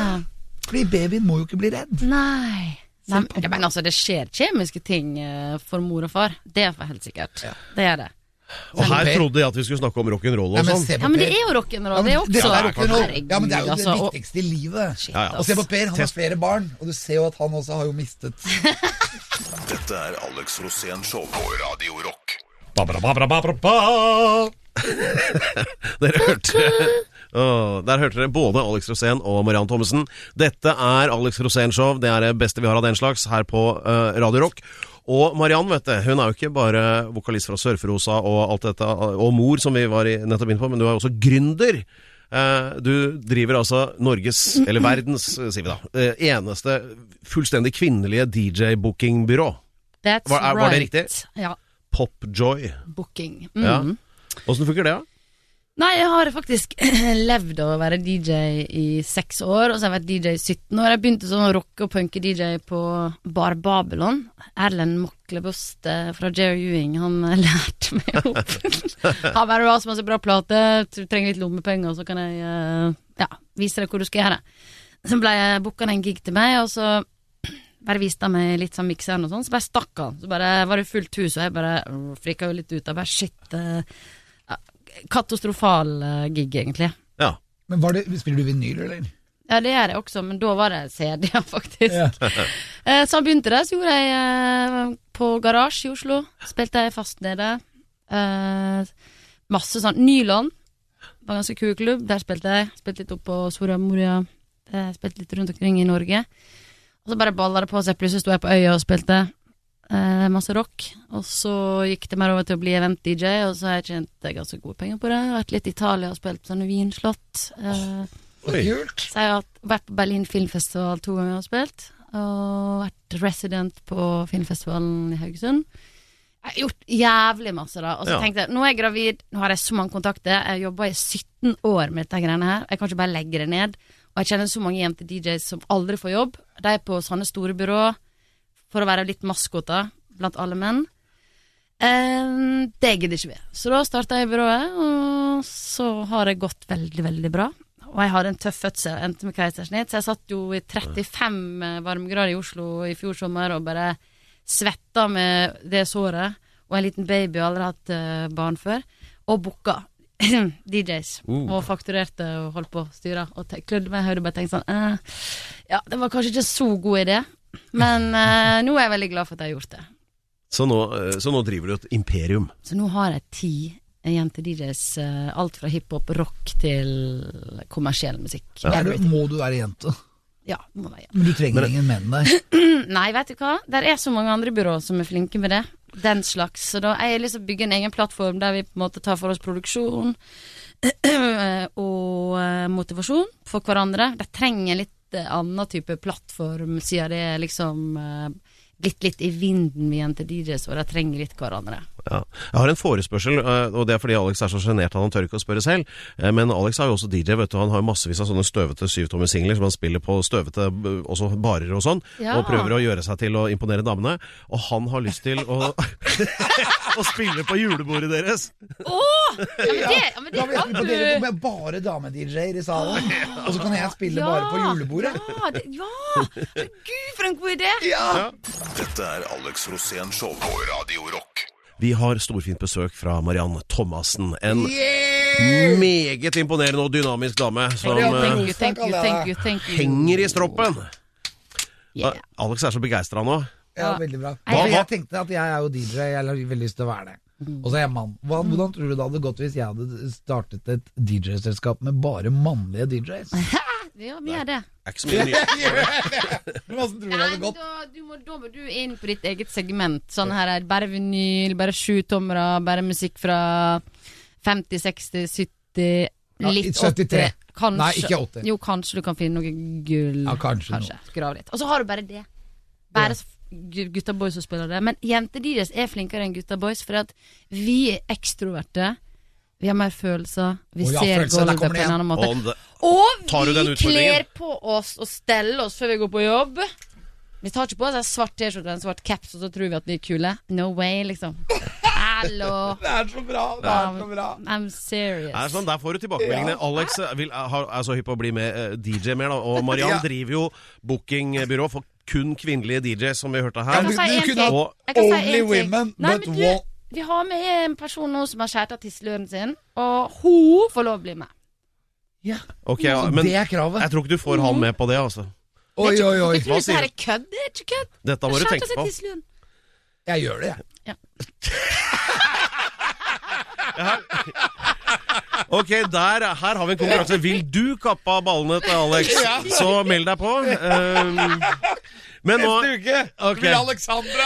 [SPEAKER 2] Fordi babyen må jo ikke bli redd.
[SPEAKER 4] Nei. Nei men- men altså, det skjer kjemiske ting eh, for mor og far. Det er for helt sikkert. Det er det.
[SPEAKER 1] Og her
[SPEAKER 2] Per.
[SPEAKER 1] trodde jeg at vi skulle snakke om rock'n'roll
[SPEAKER 2] Ja,
[SPEAKER 1] og
[SPEAKER 2] men
[SPEAKER 1] sånn.
[SPEAKER 2] se på
[SPEAKER 4] Ja, men
[SPEAKER 2] Per.
[SPEAKER 4] det er jo
[SPEAKER 2] Ja,
[SPEAKER 4] rock'n'roll,
[SPEAKER 2] men
[SPEAKER 4] det er også.
[SPEAKER 2] det er rock'n'roll.
[SPEAKER 4] Herregud,
[SPEAKER 2] Ja, men det er jo
[SPEAKER 4] altså,
[SPEAKER 2] det
[SPEAKER 4] og-
[SPEAKER 2] viktigste i livet.
[SPEAKER 4] Ja, ja.
[SPEAKER 2] Og se på Per, han har
[SPEAKER 1] Test-
[SPEAKER 2] flere barn, og du ser jo at han også har jo mistet
[SPEAKER 3] Dette er Alex Rosén Show på Radio Rock.
[SPEAKER 1] Ba, ba, ba, ba, ba, ba, ba. Dere hørte Åh, Der hørte dere både Alex Rosén og Mariann Thommessen. Dette er Alex Rosén-show. Det er det beste vi har av den slags her på eh, Radio Rock. Og Mariann vet du, hun er jo ikke bare vokalist fra Sørfrosa og alt dette, og mor, som vi var i, nettopp inne på, men du er også gründer. Eh, Du driver altså Norges, eller verdens, eh, sier vi da, eh, eneste fullstendig kvinnelige DJ-bookingbyrå.
[SPEAKER 4] That's
[SPEAKER 1] Var- er- var det
[SPEAKER 4] right.
[SPEAKER 1] riktig?
[SPEAKER 4] Ja.
[SPEAKER 1] Popjoy.
[SPEAKER 4] Booking. Mm.
[SPEAKER 1] Ja. Åssen funker det, da?
[SPEAKER 4] Nei, jeg har faktisk levd av å være DJ i seks år, og så har jeg vært DJ i 17 år. Jeg begynte som rocke- og punke-DJ på Bar Babylon. Erlend Moklebost eh, fra Jerry Ewing, han eh, lærte meg opp. han bare har så masse bra plater, du trenger litt lommepenger, så kan jeg eh, ja, vise deg hvor du skal gjøre. Så ble jeg booka en gig til meg, og så bare viste han meg litt sånn mikseren og sånn, så bare stakk han. Så bare var det fullt hus, og jeg bare øh, frika jo litt ut. Jeg bare shit. eh, ja, Katastrofal eh, gig, egentlig.
[SPEAKER 1] Ja.
[SPEAKER 2] Men var det, Spiller du vinyl, eller?
[SPEAKER 4] Ja, det gjør jeg også, men da var det CD-er, faktisk. Eh, så han begynte det, så gjorde jeg eh, på Garasje i Oslo. Spilte jeg fast nede. Eh, masse sånn Nyland var ganske kul klubb. Der spilte jeg. Spilte litt opp på Soria Moria. Eh, spilte litt rundt omkring i Norge. Og så bare balla det på seg. Plutselig sto jeg på øya og spilte eh, masse rock. Og så gikk det mer over til å bli event-DJ, og så har jeg tjent eh, ganske gode penger på det. Vært litt i Italia og spilt på sånne vinslott. Eh,
[SPEAKER 1] Oi.
[SPEAKER 2] Kult!
[SPEAKER 4] så jeg har hatt- vært på Berlin Filmfestival to ganger og spilt. Og vært resident på filmfestivalen i Haugesund. Jeg har gjort jævlig masse, da. Og så
[SPEAKER 1] Ja.
[SPEAKER 4] tenkte jeg nå er jeg gravid, nå har jeg så mange kontakter. Jeg har jobba i 17 år med dette greiene her. Jeg kan ikke bare legge det ned. Og jeg kjenner så mange jenter DJs som aldri får jobb. De er på sånne store byrå for å være litt maskoter blant alle menn. Eh, det gidder ikke vi. Så da starta jeg i byrået, og så har det gått veldig, veldig bra. Og jeg hadde en tøff fødsel, endte med keisersnitt, så jeg satt jo i 35 varmegrader i Oslo i fjor sommer og bare svetta med det såret, og en liten baby og aldri hatt eh, barn før, og booka DJs, og fakturerte og holdt på å styre, og te- klødde meg i hodet og bare tenkte sånn eh, Ja, det var kanskje ikke så god idé, men eh, nå er jeg veldig glad for at jeg har gjort det.
[SPEAKER 1] Så nå, eh, så nå driver du et imperium.
[SPEAKER 4] Så nå har jeg ti jente-DJs, eh, alt fra hiphop, rock til kommersiell musikk.
[SPEAKER 2] Er du, må du være jente?
[SPEAKER 4] Ja, må være.
[SPEAKER 2] Men du trenger ingen menn der.
[SPEAKER 4] Nei, vet du hva? Det er så mange andre byråer som er flinke med det. den slags. Så da jeg har lyst til å bygge en egen plattform der vi på en måte tar for oss produksjon og eh, motivasjon for hverandre. De trenger litt eh, annen type plattform, siden det er liksom eh, blitt litt i vinden med jenter DJs, og de trenger litt hverandre.
[SPEAKER 1] Ja. Jeg har en forespørsel, eh, og det er fordi Alex er så sjenert at han tør ikke å spørre selv. Eh, Men Alex er jo også DJ, vet du. Han har massevis av sånne støvete syvtommersingler som han spiller på støvete eh, også barer og sånn,
[SPEAKER 4] Ja.
[SPEAKER 1] og prøver å gjøre seg til å imponere damene. Og han har lyst til å, å spille på julebordet deres.
[SPEAKER 4] Ja, men det, ja, men
[SPEAKER 2] Da
[SPEAKER 4] det
[SPEAKER 2] vil
[SPEAKER 4] kan
[SPEAKER 2] jeg imponere
[SPEAKER 4] du
[SPEAKER 2] på med bare dame-DJ-er i salen, og så kan jeg spille
[SPEAKER 4] Ja,
[SPEAKER 2] bare på julebordet.
[SPEAKER 4] Ja, det, ja! Gud, for en god idé!
[SPEAKER 3] Dette er Alex Rosén Show på Radio Rock.
[SPEAKER 1] Vi har storfint besøk fra Marianne Thomassen. En meget imponerende og dynamisk dame som
[SPEAKER 4] Thank
[SPEAKER 1] eh,
[SPEAKER 4] you, thank you, thank you, thank you.
[SPEAKER 1] henger i stroppen.
[SPEAKER 4] Yeah.
[SPEAKER 1] Eh, Alex er så begeistra nå.
[SPEAKER 2] Ja,
[SPEAKER 4] Ja.
[SPEAKER 2] veldig bra.
[SPEAKER 4] Hva-
[SPEAKER 2] Jeg tenkte at jeg er jo DJ, jeg har veldig lyst til å være det.
[SPEAKER 4] Mm.
[SPEAKER 2] Og så er jeg mann. Hva, hvordan tror du det hadde gått hvis jeg hadde startet et DJ-selskap med bare mannlige DJs?
[SPEAKER 4] Ja, vi gjør det.
[SPEAKER 1] Er ikke så mye nye.
[SPEAKER 2] Hvordan tror du det
[SPEAKER 4] Nei,
[SPEAKER 2] hadde
[SPEAKER 4] men
[SPEAKER 2] gått?
[SPEAKER 4] da, du må, da må du inn på ditt eget segment. Sånn her er bare vinyl, bare sjutommere, bare musikk fra 50, 60, 70,
[SPEAKER 2] Ja,
[SPEAKER 4] litt 80.
[SPEAKER 2] 73.
[SPEAKER 4] Kanskje,
[SPEAKER 2] Nei, ikke 80.
[SPEAKER 4] Jo, kanskje du kan finne noe gull.
[SPEAKER 2] Ja, kanskje
[SPEAKER 4] Grav litt. Og så har du bare det. Bare s- gu- gutta boys som spiller det. Men jenter deres er flinkere enn gutta boys, for at vi er ekstroverte. Vi har mer følelser. Vi
[SPEAKER 2] Å ja,
[SPEAKER 4] ser
[SPEAKER 2] følelser, der
[SPEAKER 4] gulvet på
[SPEAKER 2] kommer det
[SPEAKER 4] en
[SPEAKER 2] igjen.
[SPEAKER 4] annen måte.
[SPEAKER 1] Og det- Tar du
[SPEAKER 4] Og
[SPEAKER 1] den
[SPEAKER 4] vi kler
[SPEAKER 1] utfordringen?
[SPEAKER 4] på oss og steller oss før vi går på jobb. Vi tar ikke på oss en svart T-skjorte og en svart caps, og så tror vi at vi er kule. No way, liksom. Hallo. Um,
[SPEAKER 2] Det er så bra! Det er så bra!
[SPEAKER 4] I'm serious.
[SPEAKER 1] Er sånn, Der får du tilbakemeldingene. Alex eh, vil, er, har- er så hypp på å bli med eh, DJ mer, da. Og Mariann driver jo bookingbyrå for kun kvinnelige DJ, som vi hørte
[SPEAKER 4] Jeg
[SPEAKER 1] her.
[SPEAKER 4] kan si
[SPEAKER 2] du
[SPEAKER 4] en
[SPEAKER 2] kunne
[SPEAKER 4] ting.
[SPEAKER 1] hatt
[SPEAKER 4] Jeg kan si
[SPEAKER 2] only
[SPEAKER 4] en ting.
[SPEAKER 2] women,
[SPEAKER 4] Nei,
[SPEAKER 2] but
[SPEAKER 4] men
[SPEAKER 2] one-
[SPEAKER 4] du, Vi har med en person nå som har skjært av tisseløren sin, og hun får lov å bli med.
[SPEAKER 2] Ja,
[SPEAKER 1] Ok, ja, Men
[SPEAKER 2] det
[SPEAKER 1] jeg
[SPEAKER 2] er kravet.
[SPEAKER 1] tror ikke du får han med på det, altså.
[SPEAKER 2] Oi, oi, oi.
[SPEAKER 4] Jeg tror
[SPEAKER 1] Hva
[SPEAKER 4] dette her
[SPEAKER 1] sier
[SPEAKER 4] er kødd. Det er ikke kødd.
[SPEAKER 1] Dette må du
[SPEAKER 4] Skjært av
[SPEAKER 1] tenke
[SPEAKER 4] seg
[SPEAKER 1] på.
[SPEAKER 4] tisseløren.
[SPEAKER 2] Jeg gjør det, jeg.
[SPEAKER 1] Ok, der, Her har vi en konkurranse. Vil du kappe av ballene til Alex, så meld deg på. Um, men nå
[SPEAKER 2] Neste uke
[SPEAKER 1] Ok.
[SPEAKER 2] blir Alexandra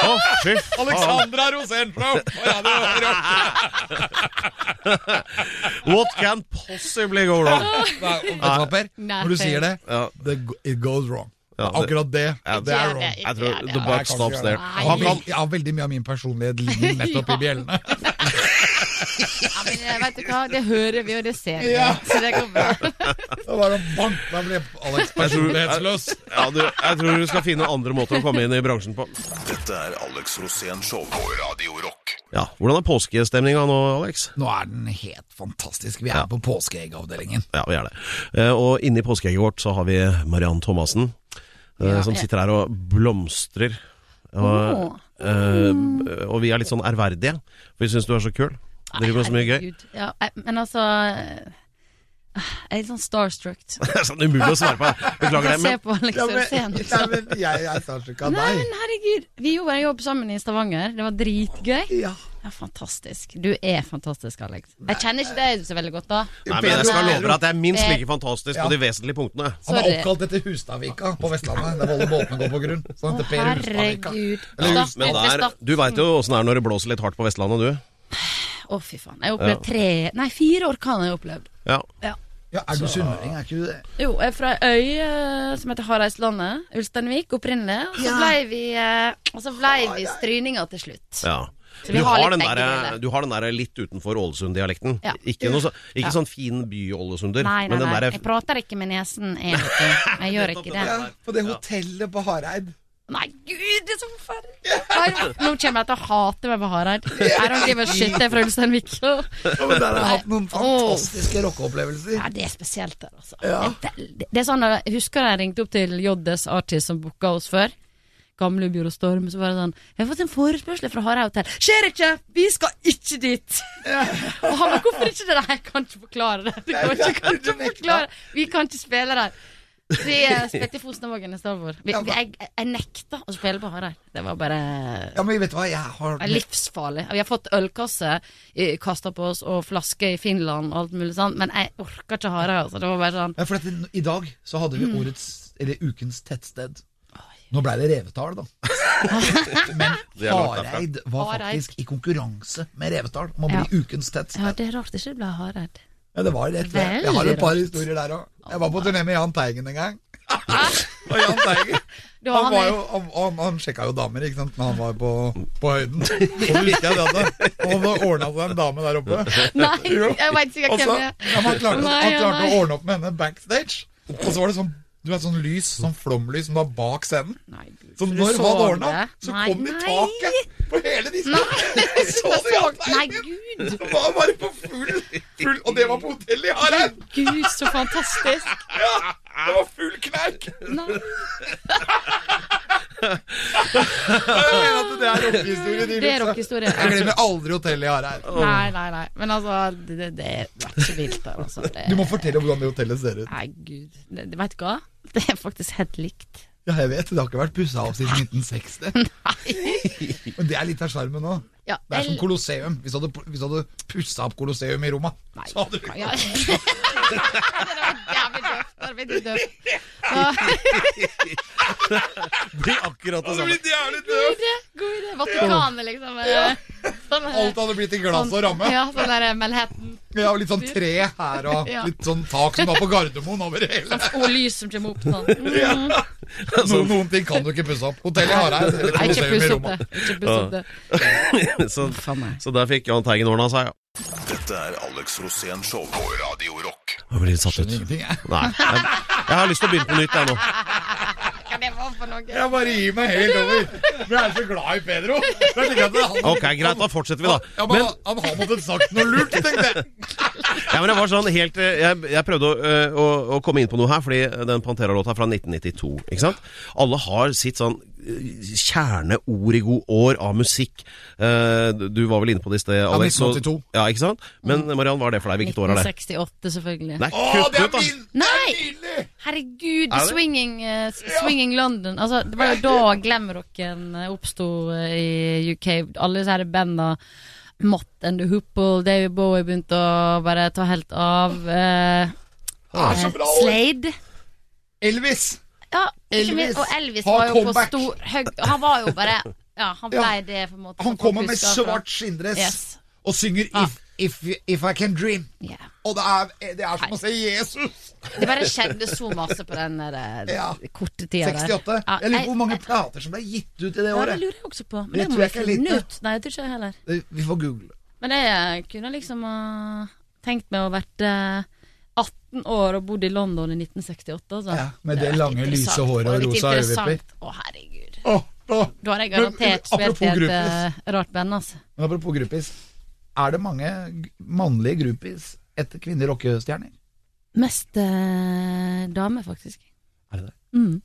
[SPEAKER 1] Å, fy faen.
[SPEAKER 2] Alexandra Rosenflom på Radio Rock.
[SPEAKER 1] What can possibly go wrong?
[SPEAKER 2] Nei, og vet du hva, Per?
[SPEAKER 4] Nei,
[SPEAKER 2] Når du
[SPEAKER 4] fair.
[SPEAKER 2] sier det,
[SPEAKER 1] Ja.
[SPEAKER 2] det go- it goes wrong.
[SPEAKER 1] Ja, det-
[SPEAKER 2] Akkurat det. Det er
[SPEAKER 4] Ja,
[SPEAKER 2] wrong.
[SPEAKER 4] det er-
[SPEAKER 1] Jeg tror the
[SPEAKER 2] Nei,
[SPEAKER 1] buck
[SPEAKER 2] jeg kan ikke
[SPEAKER 1] stops
[SPEAKER 2] gjøre
[SPEAKER 1] there.
[SPEAKER 2] det.
[SPEAKER 1] Han kan
[SPEAKER 2] Veldig- Ja, veldig mye av min personlighet ligger nettopp i bjellene.
[SPEAKER 4] Ja, men eh, vet du hva, det hører vi, og det ser vi. Så det går bra.
[SPEAKER 2] Da var det bank, da ble Alex personlighetsløs.
[SPEAKER 1] Ja, du, jeg tror du skal finne andre måter å komme inn i bransjen på.
[SPEAKER 3] Dette er Alex Rosén Show på Radio Rock.
[SPEAKER 1] Ja, Hvordan er påskestemninga nå, Alex?
[SPEAKER 2] Nå er den helt fantastisk. Vi er på påskeeggavdelingen.
[SPEAKER 1] Ja, vi er det. Eh, Og inni påskeegget vårt så har vi Mariann Thomassen, eh,
[SPEAKER 4] Ja.
[SPEAKER 1] som sitter her og blomstrer. Og,
[SPEAKER 4] Åh.
[SPEAKER 1] eh, og vi er litt sånn ærverdige, for vi syns du er så kul. Driver med så mye gøy.
[SPEAKER 4] Herregud. Ja, jeg- men altså eh, Jeg er litt sånn starstruck.
[SPEAKER 1] Det er sånn umulig å svare på. Beklager det.
[SPEAKER 4] Se
[SPEAKER 1] Men
[SPEAKER 4] på Alex Rosén.
[SPEAKER 2] jeg er starstruck av
[SPEAKER 4] Nei, men herregud. Vi gjorde en jobb sammen i Stavanger. Det var dritgøy.
[SPEAKER 2] Ja.
[SPEAKER 4] Ja, fantastisk. Du er fantastisk, Alex. Jeg kjenner ikke deg så veldig godt, da.
[SPEAKER 1] Nei, men jeg skal
[SPEAKER 2] Pedro-
[SPEAKER 1] love deg at det er minst like
[SPEAKER 4] Eh,
[SPEAKER 1] fantastisk
[SPEAKER 2] ja.
[SPEAKER 1] på de vesentlige punktene.
[SPEAKER 2] Han er
[SPEAKER 4] Sorry.
[SPEAKER 2] oppkalt etter Hustadvika på Vestlandet, der alle båtene går på grunn. Så han
[SPEAKER 4] Å,
[SPEAKER 2] heter Per Hustadvika.
[SPEAKER 4] herregud.
[SPEAKER 2] Eller
[SPEAKER 4] Start
[SPEAKER 1] Men
[SPEAKER 4] ut ved
[SPEAKER 1] der,
[SPEAKER 4] start.
[SPEAKER 1] du veit jo åssen det er når det blåser litt hardt på Vestlandet, du.
[SPEAKER 4] Å, fy faen. Jeg har opplevd tre Nei, fire orkaner jeg har opplevd.
[SPEAKER 1] Ja.
[SPEAKER 4] Ja.
[SPEAKER 2] Ja, er du sunnmøring, er ikke du det?
[SPEAKER 4] Jo, jeg er fra ei øy eh, som heter Hareislandet. Ulsteinvik opprinnelig. Og så
[SPEAKER 2] Ja.
[SPEAKER 4] blei vi, eh, og så blei vi stryninger til slutt.
[SPEAKER 1] ja.
[SPEAKER 4] Så vi
[SPEAKER 1] Du
[SPEAKER 4] har
[SPEAKER 1] har,
[SPEAKER 4] litt
[SPEAKER 1] den
[SPEAKER 4] begge
[SPEAKER 1] der,
[SPEAKER 4] deler.
[SPEAKER 1] du har den der litt utenfor Ålesund-dialekten.
[SPEAKER 4] Ja.
[SPEAKER 1] Ikke, noe, så- ikke sånn fin by-Ålesunder,
[SPEAKER 4] Nei, nei,
[SPEAKER 1] men den
[SPEAKER 4] nei.
[SPEAKER 1] derre
[SPEAKER 4] Jeg prater ikke med nesen, jeg, vet du. Jeg gjør ikke det.
[SPEAKER 2] på det hotellet på Hareid.
[SPEAKER 4] Nei, gud, det er så forferdelig. Nei, Nå kommer jeg til å hate meg på Hareid. I don't give a shit, jeg er fra Ulsteinvik.
[SPEAKER 2] Ja, men der har jeg hatt noen
[SPEAKER 4] Åh.
[SPEAKER 2] fantastiske rockeopplevelser.
[SPEAKER 4] Ja, det er spesielt der, altså. Det, er veldig- det er sånn, jeg husker jeg ringte opp til JDs Artist som booka oss før. Gamle Bjørn og Storm. Så var det sånn 'Jeg har fått en forespørsel fra Hareid Hotell.' 'Skjer ikke! Vi skal ikke dit!' og han bare 'Hvorfor ikke det der? Jeg kan ikke forklare det.' Du kan ikke, kan ikke forklare. Vi kan ikke spille der. Vi eh, spilte i Fosnavågen i stedet for. Vi, vi, jeg, jeg nekta å spille på Hareid. Det var bare
[SPEAKER 2] Ja, men vet du hva, jeg har
[SPEAKER 4] det er livsfarlig. Vi har fått ølkasse eh, kasta på oss, og flasker i Finland og alt mulig sånt, men jeg orker ikke ha det. Altså. Det var bare sånn
[SPEAKER 2] Ja, for at
[SPEAKER 4] Mm.
[SPEAKER 2] i- I dag så hadde vi årets, eller ukens tettsted. Nå blei det revetall, da.
[SPEAKER 1] Det er langt derfra.
[SPEAKER 2] Hareid var
[SPEAKER 4] Hareid.
[SPEAKER 2] faktisk i konkurranse med Revetal om å
[SPEAKER 4] Ja.
[SPEAKER 2] bli ukens tett.
[SPEAKER 4] Ja, det er rart det ikke ble Hareid.
[SPEAKER 2] Ja, det var rett ved.
[SPEAKER 4] Veldig
[SPEAKER 2] Jeg har et par
[SPEAKER 4] rart.
[SPEAKER 2] historier der òg. Jeg var på turné med Jahn Teigen en gang. Og Jahn Teigen
[SPEAKER 4] Du,
[SPEAKER 2] han,
[SPEAKER 4] han
[SPEAKER 2] var
[SPEAKER 4] er-
[SPEAKER 2] jo, han, han, han sjekka jo damer, ikke sant, når han var på, på høyden. Og så husker jeg det at han ordna seg en dame der oppe.
[SPEAKER 4] Nei,
[SPEAKER 2] Jo.
[SPEAKER 4] jeg veit ikke
[SPEAKER 2] Og så-
[SPEAKER 4] hvem det er.
[SPEAKER 2] Altså, ja, men han klarte,
[SPEAKER 4] Nei,
[SPEAKER 2] han
[SPEAKER 4] ja,
[SPEAKER 2] klarte
[SPEAKER 4] nei.
[SPEAKER 2] å ordne opp med henne backstage. Og så var det sånn du vet, sånn lys, sånn flomlys som var bak scenen.
[SPEAKER 4] Nei, Gud,
[SPEAKER 2] Så
[SPEAKER 4] for du
[SPEAKER 2] når var det ordna,
[SPEAKER 4] det?
[SPEAKER 2] så
[SPEAKER 4] Nei,
[SPEAKER 2] kom det i
[SPEAKER 4] nei.
[SPEAKER 2] taket på hele diska. Så du Jahn
[SPEAKER 4] Nei,
[SPEAKER 2] Teigen?
[SPEAKER 4] gud.
[SPEAKER 2] Han var bare på full, full Og det var på hotellet i Hareid!
[SPEAKER 4] Gud, så fantastisk.
[SPEAKER 2] Ja, det var full knerk!
[SPEAKER 4] Nei.
[SPEAKER 2] Jeg mener at det er rockehistorie. de
[SPEAKER 4] Det er
[SPEAKER 2] vitsa.
[SPEAKER 4] rockehistorie.
[SPEAKER 2] Jeg glemmer aldri hotellet jeg har her.
[SPEAKER 4] Nei, nei, nei. Men altså, det, det, det var ikke så vilt der, altså. Det,
[SPEAKER 2] Du må fortelle hvordan det hotellet ser ut.
[SPEAKER 4] Nei, gud. Det, det, vet du hva? Det er faktisk helt likt.
[SPEAKER 2] Ja, jeg vet, Det har ikke vært pussa opp siden 1960. Men det er litt av sjarmen òg.
[SPEAKER 4] Ja,
[SPEAKER 2] Det er som
[SPEAKER 4] el-
[SPEAKER 2] Colosseum. Hvis du hadde, hvis du hadde pussa opp Colosseum i Roma,
[SPEAKER 4] Nei,
[SPEAKER 2] så hadde du
[SPEAKER 4] ja. Det var jævlig døvt. Det var døvt. Så,
[SPEAKER 1] Det er akkurat det
[SPEAKER 2] hadde
[SPEAKER 1] samme.
[SPEAKER 2] blitt jævlig døv!
[SPEAKER 4] det, god idé. Vatikanet, liksom. eh, Sånn, eh,
[SPEAKER 2] Alt hadde blitt i
[SPEAKER 4] sånn-
[SPEAKER 2] glass og ramme.
[SPEAKER 4] Ja, sånn der eh, Manhattan.
[SPEAKER 2] Ja, og Litt sånn tre her og
[SPEAKER 4] Ja.
[SPEAKER 2] litt sånn tak som var på Gardermoen over hele.
[SPEAKER 4] Og lys Sånn som kommer opp sånn. Mm.
[SPEAKER 2] Noen, noen ting kan du ikke pusse opp. Hotellet i Hareid eller
[SPEAKER 4] Nei, ikke
[SPEAKER 2] Colosseum
[SPEAKER 4] puss
[SPEAKER 2] i
[SPEAKER 4] opp
[SPEAKER 2] Roma.
[SPEAKER 4] det. Ikke puss opp det.
[SPEAKER 1] Så,
[SPEAKER 4] Faen meg.
[SPEAKER 1] så der fikk Jahn Teigen ordna seg. ja.
[SPEAKER 3] Dette er Alex Rosén Show på Radio Rock.
[SPEAKER 1] Jeg blir litt satt ut.
[SPEAKER 2] Ingenting, jeg.
[SPEAKER 1] Nei. Jeg, jeg har lyst til å begynne på nytt, jeg nå.
[SPEAKER 4] Hva det var for noe?
[SPEAKER 2] Jeg bare gir meg helt over. For jeg er så glad i Pedro. Det er slik at han,
[SPEAKER 1] Ok, greit, da fortsetter vi, da.
[SPEAKER 2] ja, men, han- han har måttet sagt noe lurt, tenkte jeg.
[SPEAKER 1] Ja, men jeg var sånn helt eh, Jeg, jeg prøvde å, eh, å, å komme inn på noe her, fordi den Pantera-låta er fra 1992, ikke sant? Alle har sitt sånn eh, kjerneord i god år av musikk. Eh, Du var vel inne på det i sted, Alex? så-
[SPEAKER 2] 1982.
[SPEAKER 1] Ja, ikke sant? Men Mariann, hva er det for deg? Hvilket år er det?
[SPEAKER 4] 1968, selvfølgelig.
[SPEAKER 1] Nei,
[SPEAKER 2] Å,
[SPEAKER 1] kutt
[SPEAKER 2] det er
[SPEAKER 1] ut, da!
[SPEAKER 2] min!
[SPEAKER 4] Nei!
[SPEAKER 2] Nydelig!
[SPEAKER 4] Herregud,
[SPEAKER 1] Er det?
[SPEAKER 4] Swinging, eh, s- swinging London. Altså, det var jo da glamrocken eh, oppsto eh, i UK. Alle disse her banda. Mott and the Hoople, David Bowie begynte å bare ta helt av. eh,
[SPEAKER 2] Det er så
[SPEAKER 4] eh,
[SPEAKER 2] bra år.
[SPEAKER 4] Slade.
[SPEAKER 2] Elvis.
[SPEAKER 4] Ja, ikke
[SPEAKER 2] Elvis
[SPEAKER 4] minst. Og Elvis
[SPEAKER 2] har
[SPEAKER 4] var jo på
[SPEAKER 2] comeback.
[SPEAKER 4] stor høg, Han var jo bare Ja, han
[SPEAKER 2] Ja.
[SPEAKER 4] blei det, på en måte.
[SPEAKER 2] Han
[SPEAKER 4] som folk
[SPEAKER 2] kommer med
[SPEAKER 4] husker altså. fra-
[SPEAKER 2] svart skinndress
[SPEAKER 4] Yes. Ah.
[SPEAKER 2] og synger
[SPEAKER 4] Ja.
[SPEAKER 2] if, if, if I Can Dream.
[SPEAKER 4] Ja.
[SPEAKER 2] Og det er, det er som å se Jesus.
[SPEAKER 4] Det bare skjedde så masse på den der, eh,
[SPEAKER 2] Ja.
[SPEAKER 4] korte tida der.
[SPEAKER 2] 68.
[SPEAKER 4] Ja,
[SPEAKER 2] Jeg lurer på
[SPEAKER 4] jeg-
[SPEAKER 2] hvor mange plater som ble gitt ut i det
[SPEAKER 4] Ja, det
[SPEAKER 2] året.
[SPEAKER 4] lurer jeg også på. Men
[SPEAKER 2] Det
[SPEAKER 4] det, må
[SPEAKER 2] tror
[SPEAKER 4] vi
[SPEAKER 2] jeg ikke er
[SPEAKER 4] finne
[SPEAKER 2] lite.
[SPEAKER 4] ut. Nei, jeg tror ikke jeg heller.
[SPEAKER 2] Vi får google.
[SPEAKER 4] Men jeg kunne liksom ha tenkt meg å vært eh, 18 år og bodd i London i 1968. Altså.
[SPEAKER 2] Ja, med
[SPEAKER 4] hadde
[SPEAKER 2] det
[SPEAKER 4] vært
[SPEAKER 2] lange,
[SPEAKER 4] interessant.
[SPEAKER 2] lyse håret
[SPEAKER 4] Det
[SPEAKER 2] og
[SPEAKER 4] hadde vært
[SPEAKER 2] rosa
[SPEAKER 4] interessant.
[SPEAKER 2] øyevipper.
[SPEAKER 4] Å, herregud.
[SPEAKER 2] Åh, åh.
[SPEAKER 4] Da hadde jeg
[SPEAKER 2] Men-
[SPEAKER 4] garantert
[SPEAKER 2] men
[SPEAKER 4] spilt i et
[SPEAKER 2] apropos groupies.
[SPEAKER 4] eh, rart band, altså.
[SPEAKER 2] Men apropos groupies. Er det mange g- mannlige groupies etter kvinnelige rockestjerner?
[SPEAKER 4] Mest eh, dame, faktisk.
[SPEAKER 2] Er det det?
[SPEAKER 4] Mm.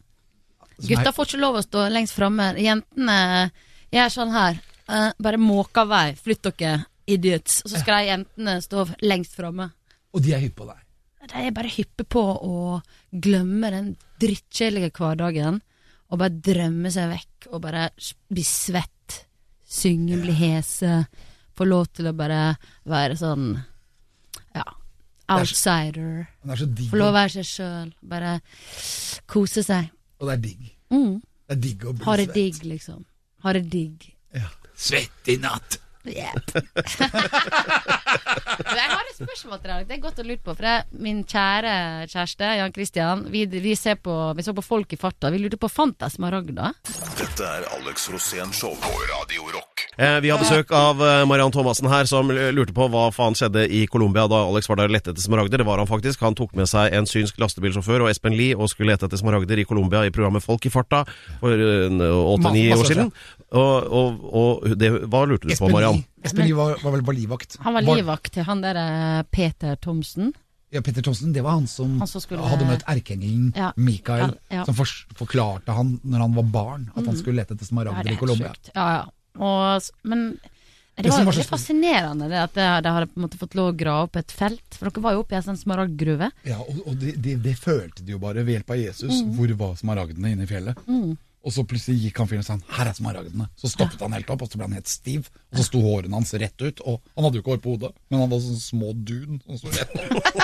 [SPEAKER 2] Som
[SPEAKER 4] Gutta
[SPEAKER 2] er-
[SPEAKER 4] får ikke lov å stå lengst framme. Jentene Jeg er sånn her. eh, bare måka vei. Flytt dere, idiots. Og så skal de jentene stå lengst framme.
[SPEAKER 2] Og de er hypp på deg.
[SPEAKER 4] De er bare hyppe på å glemme den drittkjedelige hverdagen og bare drømme seg vekk og bare s- bli svett, synge, bli hese, få lov til å bare være sånn ja, outsider.
[SPEAKER 2] Han er så digg.
[SPEAKER 4] Få lov å være seg sjøl, bare kose seg.
[SPEAKER 2] Og det er digg.
[SPEAKER 4] Mm.
[SPEAKER 2] Det er digg å bli
[SPEAKER 4] Ha det
[SPEAKER 2] svett.
[SPEAKER 4] digg, liksom. Ha det digg.
[SPEAKER 2] Svett i natt.
[SPEAKER 4] Yep. jeg har et spørsmål til deg. Det er godt å lure på. For det er min kjære kjæreste, Jan Christian, vi, vi, ser på, vi så på Folk i farta. Vi lurte på Fantas Maragda.
[SPEAKER 3] Dette er Alex Rosén Show på Radio Rock.
[SPEAKER 1] Eh, Vi har besøk av eh, Mariann Thomassen her, som l- lurte på hva faen skjedde i Colombia da Alex var der og lette etter smaragder. Det var han faktisk. Han tok med seg en synsk lastebilsjåfør og Espen Lie og skulle lete etter smaragder i Colombia i programmet Folk i farta for eh, åtte-ni
[SPEAKER 2] Masse
[SPEAKER 1] år
[SPEAKER 2] år
[SPEAKER 1] siden. Og, og, og det, hva lurte du på,
[SPEAKER 2] Espen Lie
[SPEAKER 1] Mariann?
[SPEAKER 2] Espen Lie var, var vel på livvakt?
[SPEAKER 4] Han var livvakt til han der eh, Peter Thomsen.
[SPEAKER 2] Ja, Petter Thomsen, det var han som,
[SPEAKER 4] Han som skulle-
[SPEAKER 2] hadde møtt erkeengelen
[SPEAKER 4] Ja.
[SPEAKER 2] Mikael,
[SPEAKER 4] Ja, ja. Mhm.
[SPEAKER 2] som for, forklarte han når han var barn at han skulle lete etter
[SPEAKER 4] Ja,
[SPEAKER 2] smaragder
[SPEAKER 4] det
[SPEAKER 2] i
[SPEAKER 4] er helt
[SPEAKER 2] Colombia.
[SPEAKER 4] sjukt. Ja, ja. Og, s- men det
[SPEAKER 2] Det
[SPEAKER 4] var
[SPEAKER 2] som
[SPEAKER 4] jo
[SPEAKER 2] var så
[SPEAKER 4] veldig fascinerende det at de de hadde på en måte fått lov å grave opp et felt. For dere var jo oppe i en sånn smaragdgruve. Mm.
[SPEAKER 2] Ja, og, og det, det, det følte de jo bare ved hjelp av Jesus. Hvor var smaragdene inne i fjellet? Og så plutselig gikk han fyren og sa han, 'her er smaragdene'. Så stoppet han helt opp, og så ble han helt stiv. Og så sto hårene hans rett ut. Og han hadde jo ikke hår på hodet, men han var sånn små dun som sto rett opp.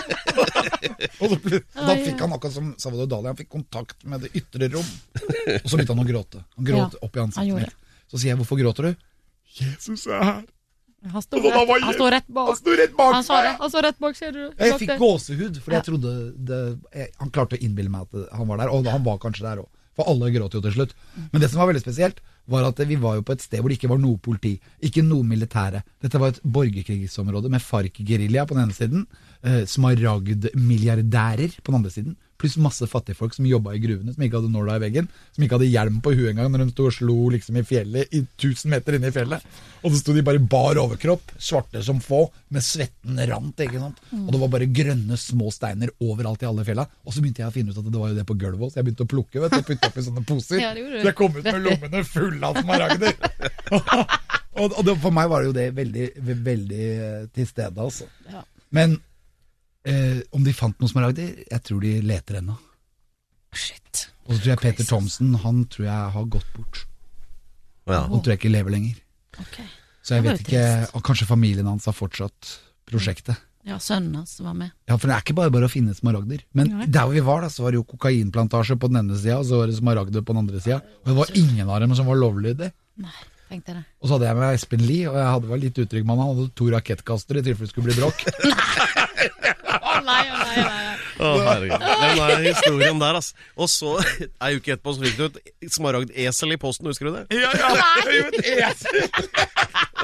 [SPEAKER 2] og så plut- og da fikk han akkurat som Salvador Dali, han fikk kontakt med det ytre rom. Og så begynte han å gråte. Han gråt
[SPEAKER 4] Ja,
[SPEAKER 2] opp i
[SPEAKER 4] han gjorde
[SPEAKER 2] ansiktet mitt. Så sier jeg 'hvorfor gråter du?' Jesus er her.
[SPEAKER 4] Han sto rett, han sto rett bak.
[SPEAKER 2] Han sto rett bak
[SPEAKER 4] Han sa det.
[SPEAKER 2] meg.
[SPEAKER 4] Han sto rett bak, ser du.
[SPEAKER 2] Jeg
[SPEAKER 4] Bak
[SPEAKER 2] fikk
[SPEAKER 4] der.
[SPEAKER 2] gåsehud, for jeg trodde det, jeg, Han klarte å innbille meg at han var der, og han var kanskje der òg. For alle gråt jo til slutt. Men det som var veldig spesielt, var at vi var jo på et sted hvor det ikke var noe politi, ikke noe militære. Dette var et borgerkrigsområde med FARC-gerilja på den ene siden, eh, smaragdmilliardærer på den andre siden, pluss masse fattigfolk som jobba i gruvene, som ikke hadde nåla i veggen, som ikke hadde hjelm på huet engang når de sto og slo liksom i fjellet, i 1000 meter inne i fjellet. Og så sto de bare i bar overkropp, svarte som få, med svetten rant, ikke sant.
[SPEAKER 4] Mm.
[SPEAKER 2] Og det var bare grønne små steiner overalt i alle fjella. Og så begynte jeg å finne ut at det var jo det på gulvet også. Jeg begynte å plukke, vet du, og putte oppi sånne poser.
[SPEAKER 4] Ja, det gjorde du.
[SPEAKER 2] Så jeg kom ut med lommene fulle av smaragder. og og det, for meg var det jo det veldig, veldig eh, til stede, altså.
[SPEAKER 4] Ja.
[SPEAKER 2] Men eh, om de fant noen smaragder? Jeg tror de leter ennå.
[SPEAKER 4] Shit.
[SPEAKER 2] Og så tror jeg Peter Thomsen, han tror jeg har gått bort.
[SPEAKER 1] Ja.
[SPEAKER 2] Han tror jeg ikke lever lenger.
[SPEAKER 4] Ok.
[SPEAKER 2] Så jeg
[SPEAKER 4] Det var
[SPEAKER 2] vet
[SPEAKER 4] jo
[SPEAKER 2] ikke, og kanskje familien hans har fortsatt prosjektet.
[SPEAKER 4] Ja, sønnen hans var med.
[SPEAKER 2] Ja, for det er ikke bare bare å finne smaragder. Men der hvor vi var, da, så var det jo kokainplantasje på den ene sida, og så var det smaragder på den andre sida. Og det var ingen av dem som var lovlydig.
[SPEAKER 4] Nei, tenkte jeg det.
[SPEAKER 2] Og så hadde jeg med Espen Lie, og jeg hadde vel litt utrygg mann. Han hadde to rakettkastere i tilfelle det skulle bli bråk.
[SPEAKER 4] Å nei, å nei, å nei.
[SPEAKER 1] Å, herregud. Den der historien der, altså. Og så, ei uke etterpå, så fikk du et smaragdesel i posten, husker du det?
[SPEAKER 2] Ja, ja, det er jo et esel!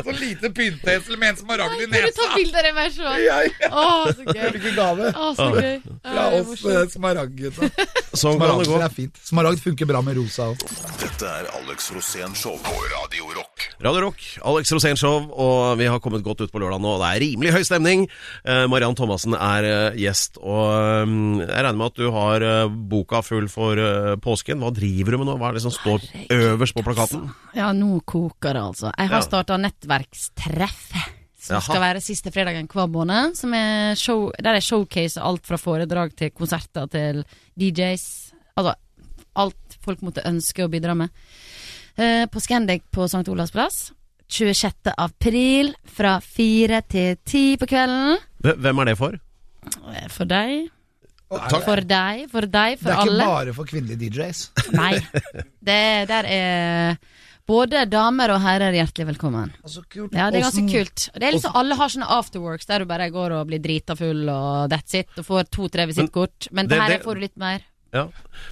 [SPEAKER 2] Så lite pyntesel med en smaragd i
[SPEAKER 4] Kan du ta bilde av det meg sjøl? sånn? Å, så gøy.
[SPEAKER 2] Hvilken gave!
[SPEAKER 4] Å, så gøy. Å,
[SPEAKER 2] Ja,
[SPEAKER 4] det er
[SPEAKER 2] oss eh,
[SPEAKER 4] morsomt.
[SPEAKER 2] smaragdgutta.
[SPEAKER 1] Sånn kan det gå.
[SPEAKER 2] Smaragd er fint. Smaragd funker bra med rosa òg.
[SPEAKER 3] Dette er Alex Rosén Show på Radio Rock.
[SPEAKER 1] Radio Rock, Alex Rosén Show, og vi har kommet godt ut på lørdag nå. og Det er rimelig høy stemning. Eh, Mariann Thomassen er eh, gjest, og eh, jeg regner med at du har eh, boka full for eh, påsken. Hva driver du med nå? Hva er det som står øverst på plakaten?
[SPEAKER 2] eh,
[SPEAKER 4] Ja, nå koker det, altså. Jeg
[SPEAKER 1] Ja.
[SPEAKER 4] har starta nettverkstreff. Som
[SPEAKER 1] Jaha.
[SPEAKER 4] skal være siste fredagen hver måned. Som er show, der jeg showcaser alt fra foredrag til konserter til DJs. Altså alt folk måtte ønske å bidra med. Eh, på Scandic på St. Olavs plass. 26. april fra fire til ti på kvelden.
[SPEAKER 1] Hve- Hvem er det for?
[SPEAKER 4] Eh, For deg,
[SPEAKER 1] Takk.
[SPEAKER 4] for deg, for deg,
[SPEAKER 2] Det
[SPEAKER 4] for
[SPEAKER 2] er ikke
[SPEAKER 4] alle.
[SPEAKER 2] bare for kvinnelige DJs.
[SPEAKER 4] Nei. Det, der er både damer og herrer hjertelig velkommen.
[SPEAKER 2] Altså, kult.
[SPEAKER 4] Ja, det er ganske
[SPEAKER 2] Åssen-
[SPEAKER 4] kult. Det er liksom Alle har sånne afterworks der du bare går og blir drita full og that's it, og får to-tre visittkort. Men
[SPEAKER 1] det-
[SPEAKER 4] det, her
[SPEAKER 1] det-
[SPEAKER 4] får du litt mer.
[SPEAKER 1] Ja.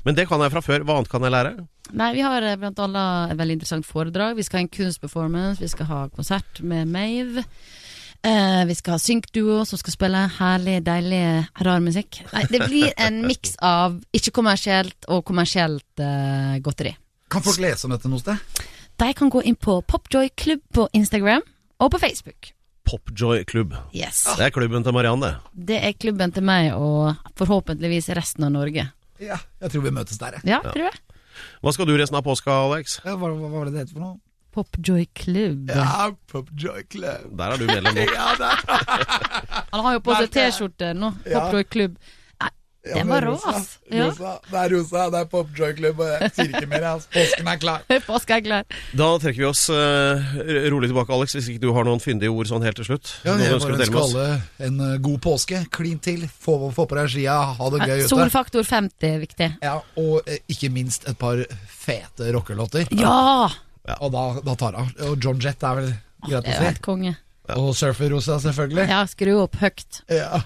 [SPEAKER 1] Men det kan jeg fra før. Hva annet kan jeg lære?
[SPEAKER 4] Nei, vi har eh, blant annet et veldig interessant foredrag. Vi skal ha en kunstperformance, vi skal ha konsert med Mave. Eh, vi skal ha synkduo som skal spille herlig, deilig, rar musikk. Nei, det blir en miks av ikke-kommersielt og kommersielt eh, godteri.
[SPEAKER 2] Kan folk lese om dette noe sted?
[SPEAKER 4] De kan gå inn på Popjoy Club på Instagram og på Facebook.
[SPEAKER 1] Popjoy klubb.
[SPEAKER 4] Yes.
[SPEAKER 2] Ah.
[SPEAKER 1] Det er klubben til Mariann, det.
[SPEAKER 4] Det er klubben til meg og forhåpentligvis resten av Norge.
[SPEAKER 2] Ja, jeg tror vi møtes der, jeg.
[SPEAKER 4] Ja, tror jeg.
[SPEAKER 1] Hva skal du resten av påska, Alex?
[SPEAKER 2] Ja, Hva, hva var det det het for noe?
[SPEAKER 4] Popjoy Club.
[SPEAKER 2] Ja, Popjoy Club.
[SPEAKER 1] Der er du medlem nå.
[SPEAKER 2] Ja, det er
[SPEAKER 4] Han har jo på seg T-skjorte nå. Popjoy Club. Nei,
[SPEAKER 2] Ja,
[SPEAKER 4] den
[SPEAKER 2] men
[SPEAKER 4] var rå,
[SPEAKER 2] rosa.
[SPEAKER 4] ass. Ja.
[SPEAKER 2] Rosa. Det er rosa, det er Popjoy Club, og jeg sier ikke mer. ass. Påsken er klar.
[SPEAKER 4] Påske er klar.
[SPEAKER 1] Da trekker vi oss eh, rolig tilbake, Alex, hvis ikke du har noen fyndige ord sånn helt til slutt.
[SPEAKER 2] Ja,
[SPEAKER 1] Noe du
[SPEAKER 2] jeg
[SPEAKER 1] ønsker å
[SPEAKER 2] bare
[SPEAKER 1] dele med
[SPEAKER 2] ønsker
[SPEAKER 1] oss?
[SPEAKER 2] alle en eh, god påske. Klin til, få, få på deg skia, ha det gøy ute.
[SPEAKER 4] Solfaktor 50 er viktig.
[SPEAKER 2] Ja, og eh, ikke minst et par fete rockelåter.
[SPEAKER 4] Ja!
[SPEAKER 2] Og da, da tar det av. Og John Jett er vel greit
[SPEAKER 4] Det er
[SPEAKER 2] å
[SPEAKER 4] jo
[SPEAKER 2] si.
[SPEAKER 4] helt konge.
[SPEAKER 2] Og Surfer-Rosa, selvfølgelig.
[SPEAKER 4] Ja, skru opp høyt.
[SPEAKER 2] Ja.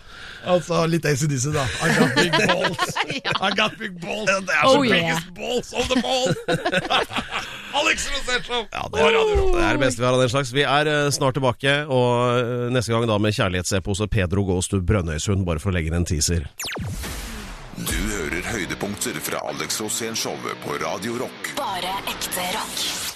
[SPEAKER 2] Altså litt ACDC, da. I got big balls. I got big balls. Det er
[SPEAKER 4] så Oh, yeah. biggest
[SPEAKER 2] balls of the ball. Alex Rosetto.
[SPEAKER 1] Ja, det, er, det er det beste vi har av den slags. Vi er eh, snart tilbake, og eh, neste gang da med kjærlighetsepose Pedro Gåstu Brønnøysund, bare for å legge inn en teaser.
[SPEAKER 3] Du hører høydepunkter fra Alex Rosén Showet på Radio Rock.
[SPEAKER 5] Bare ekte rock.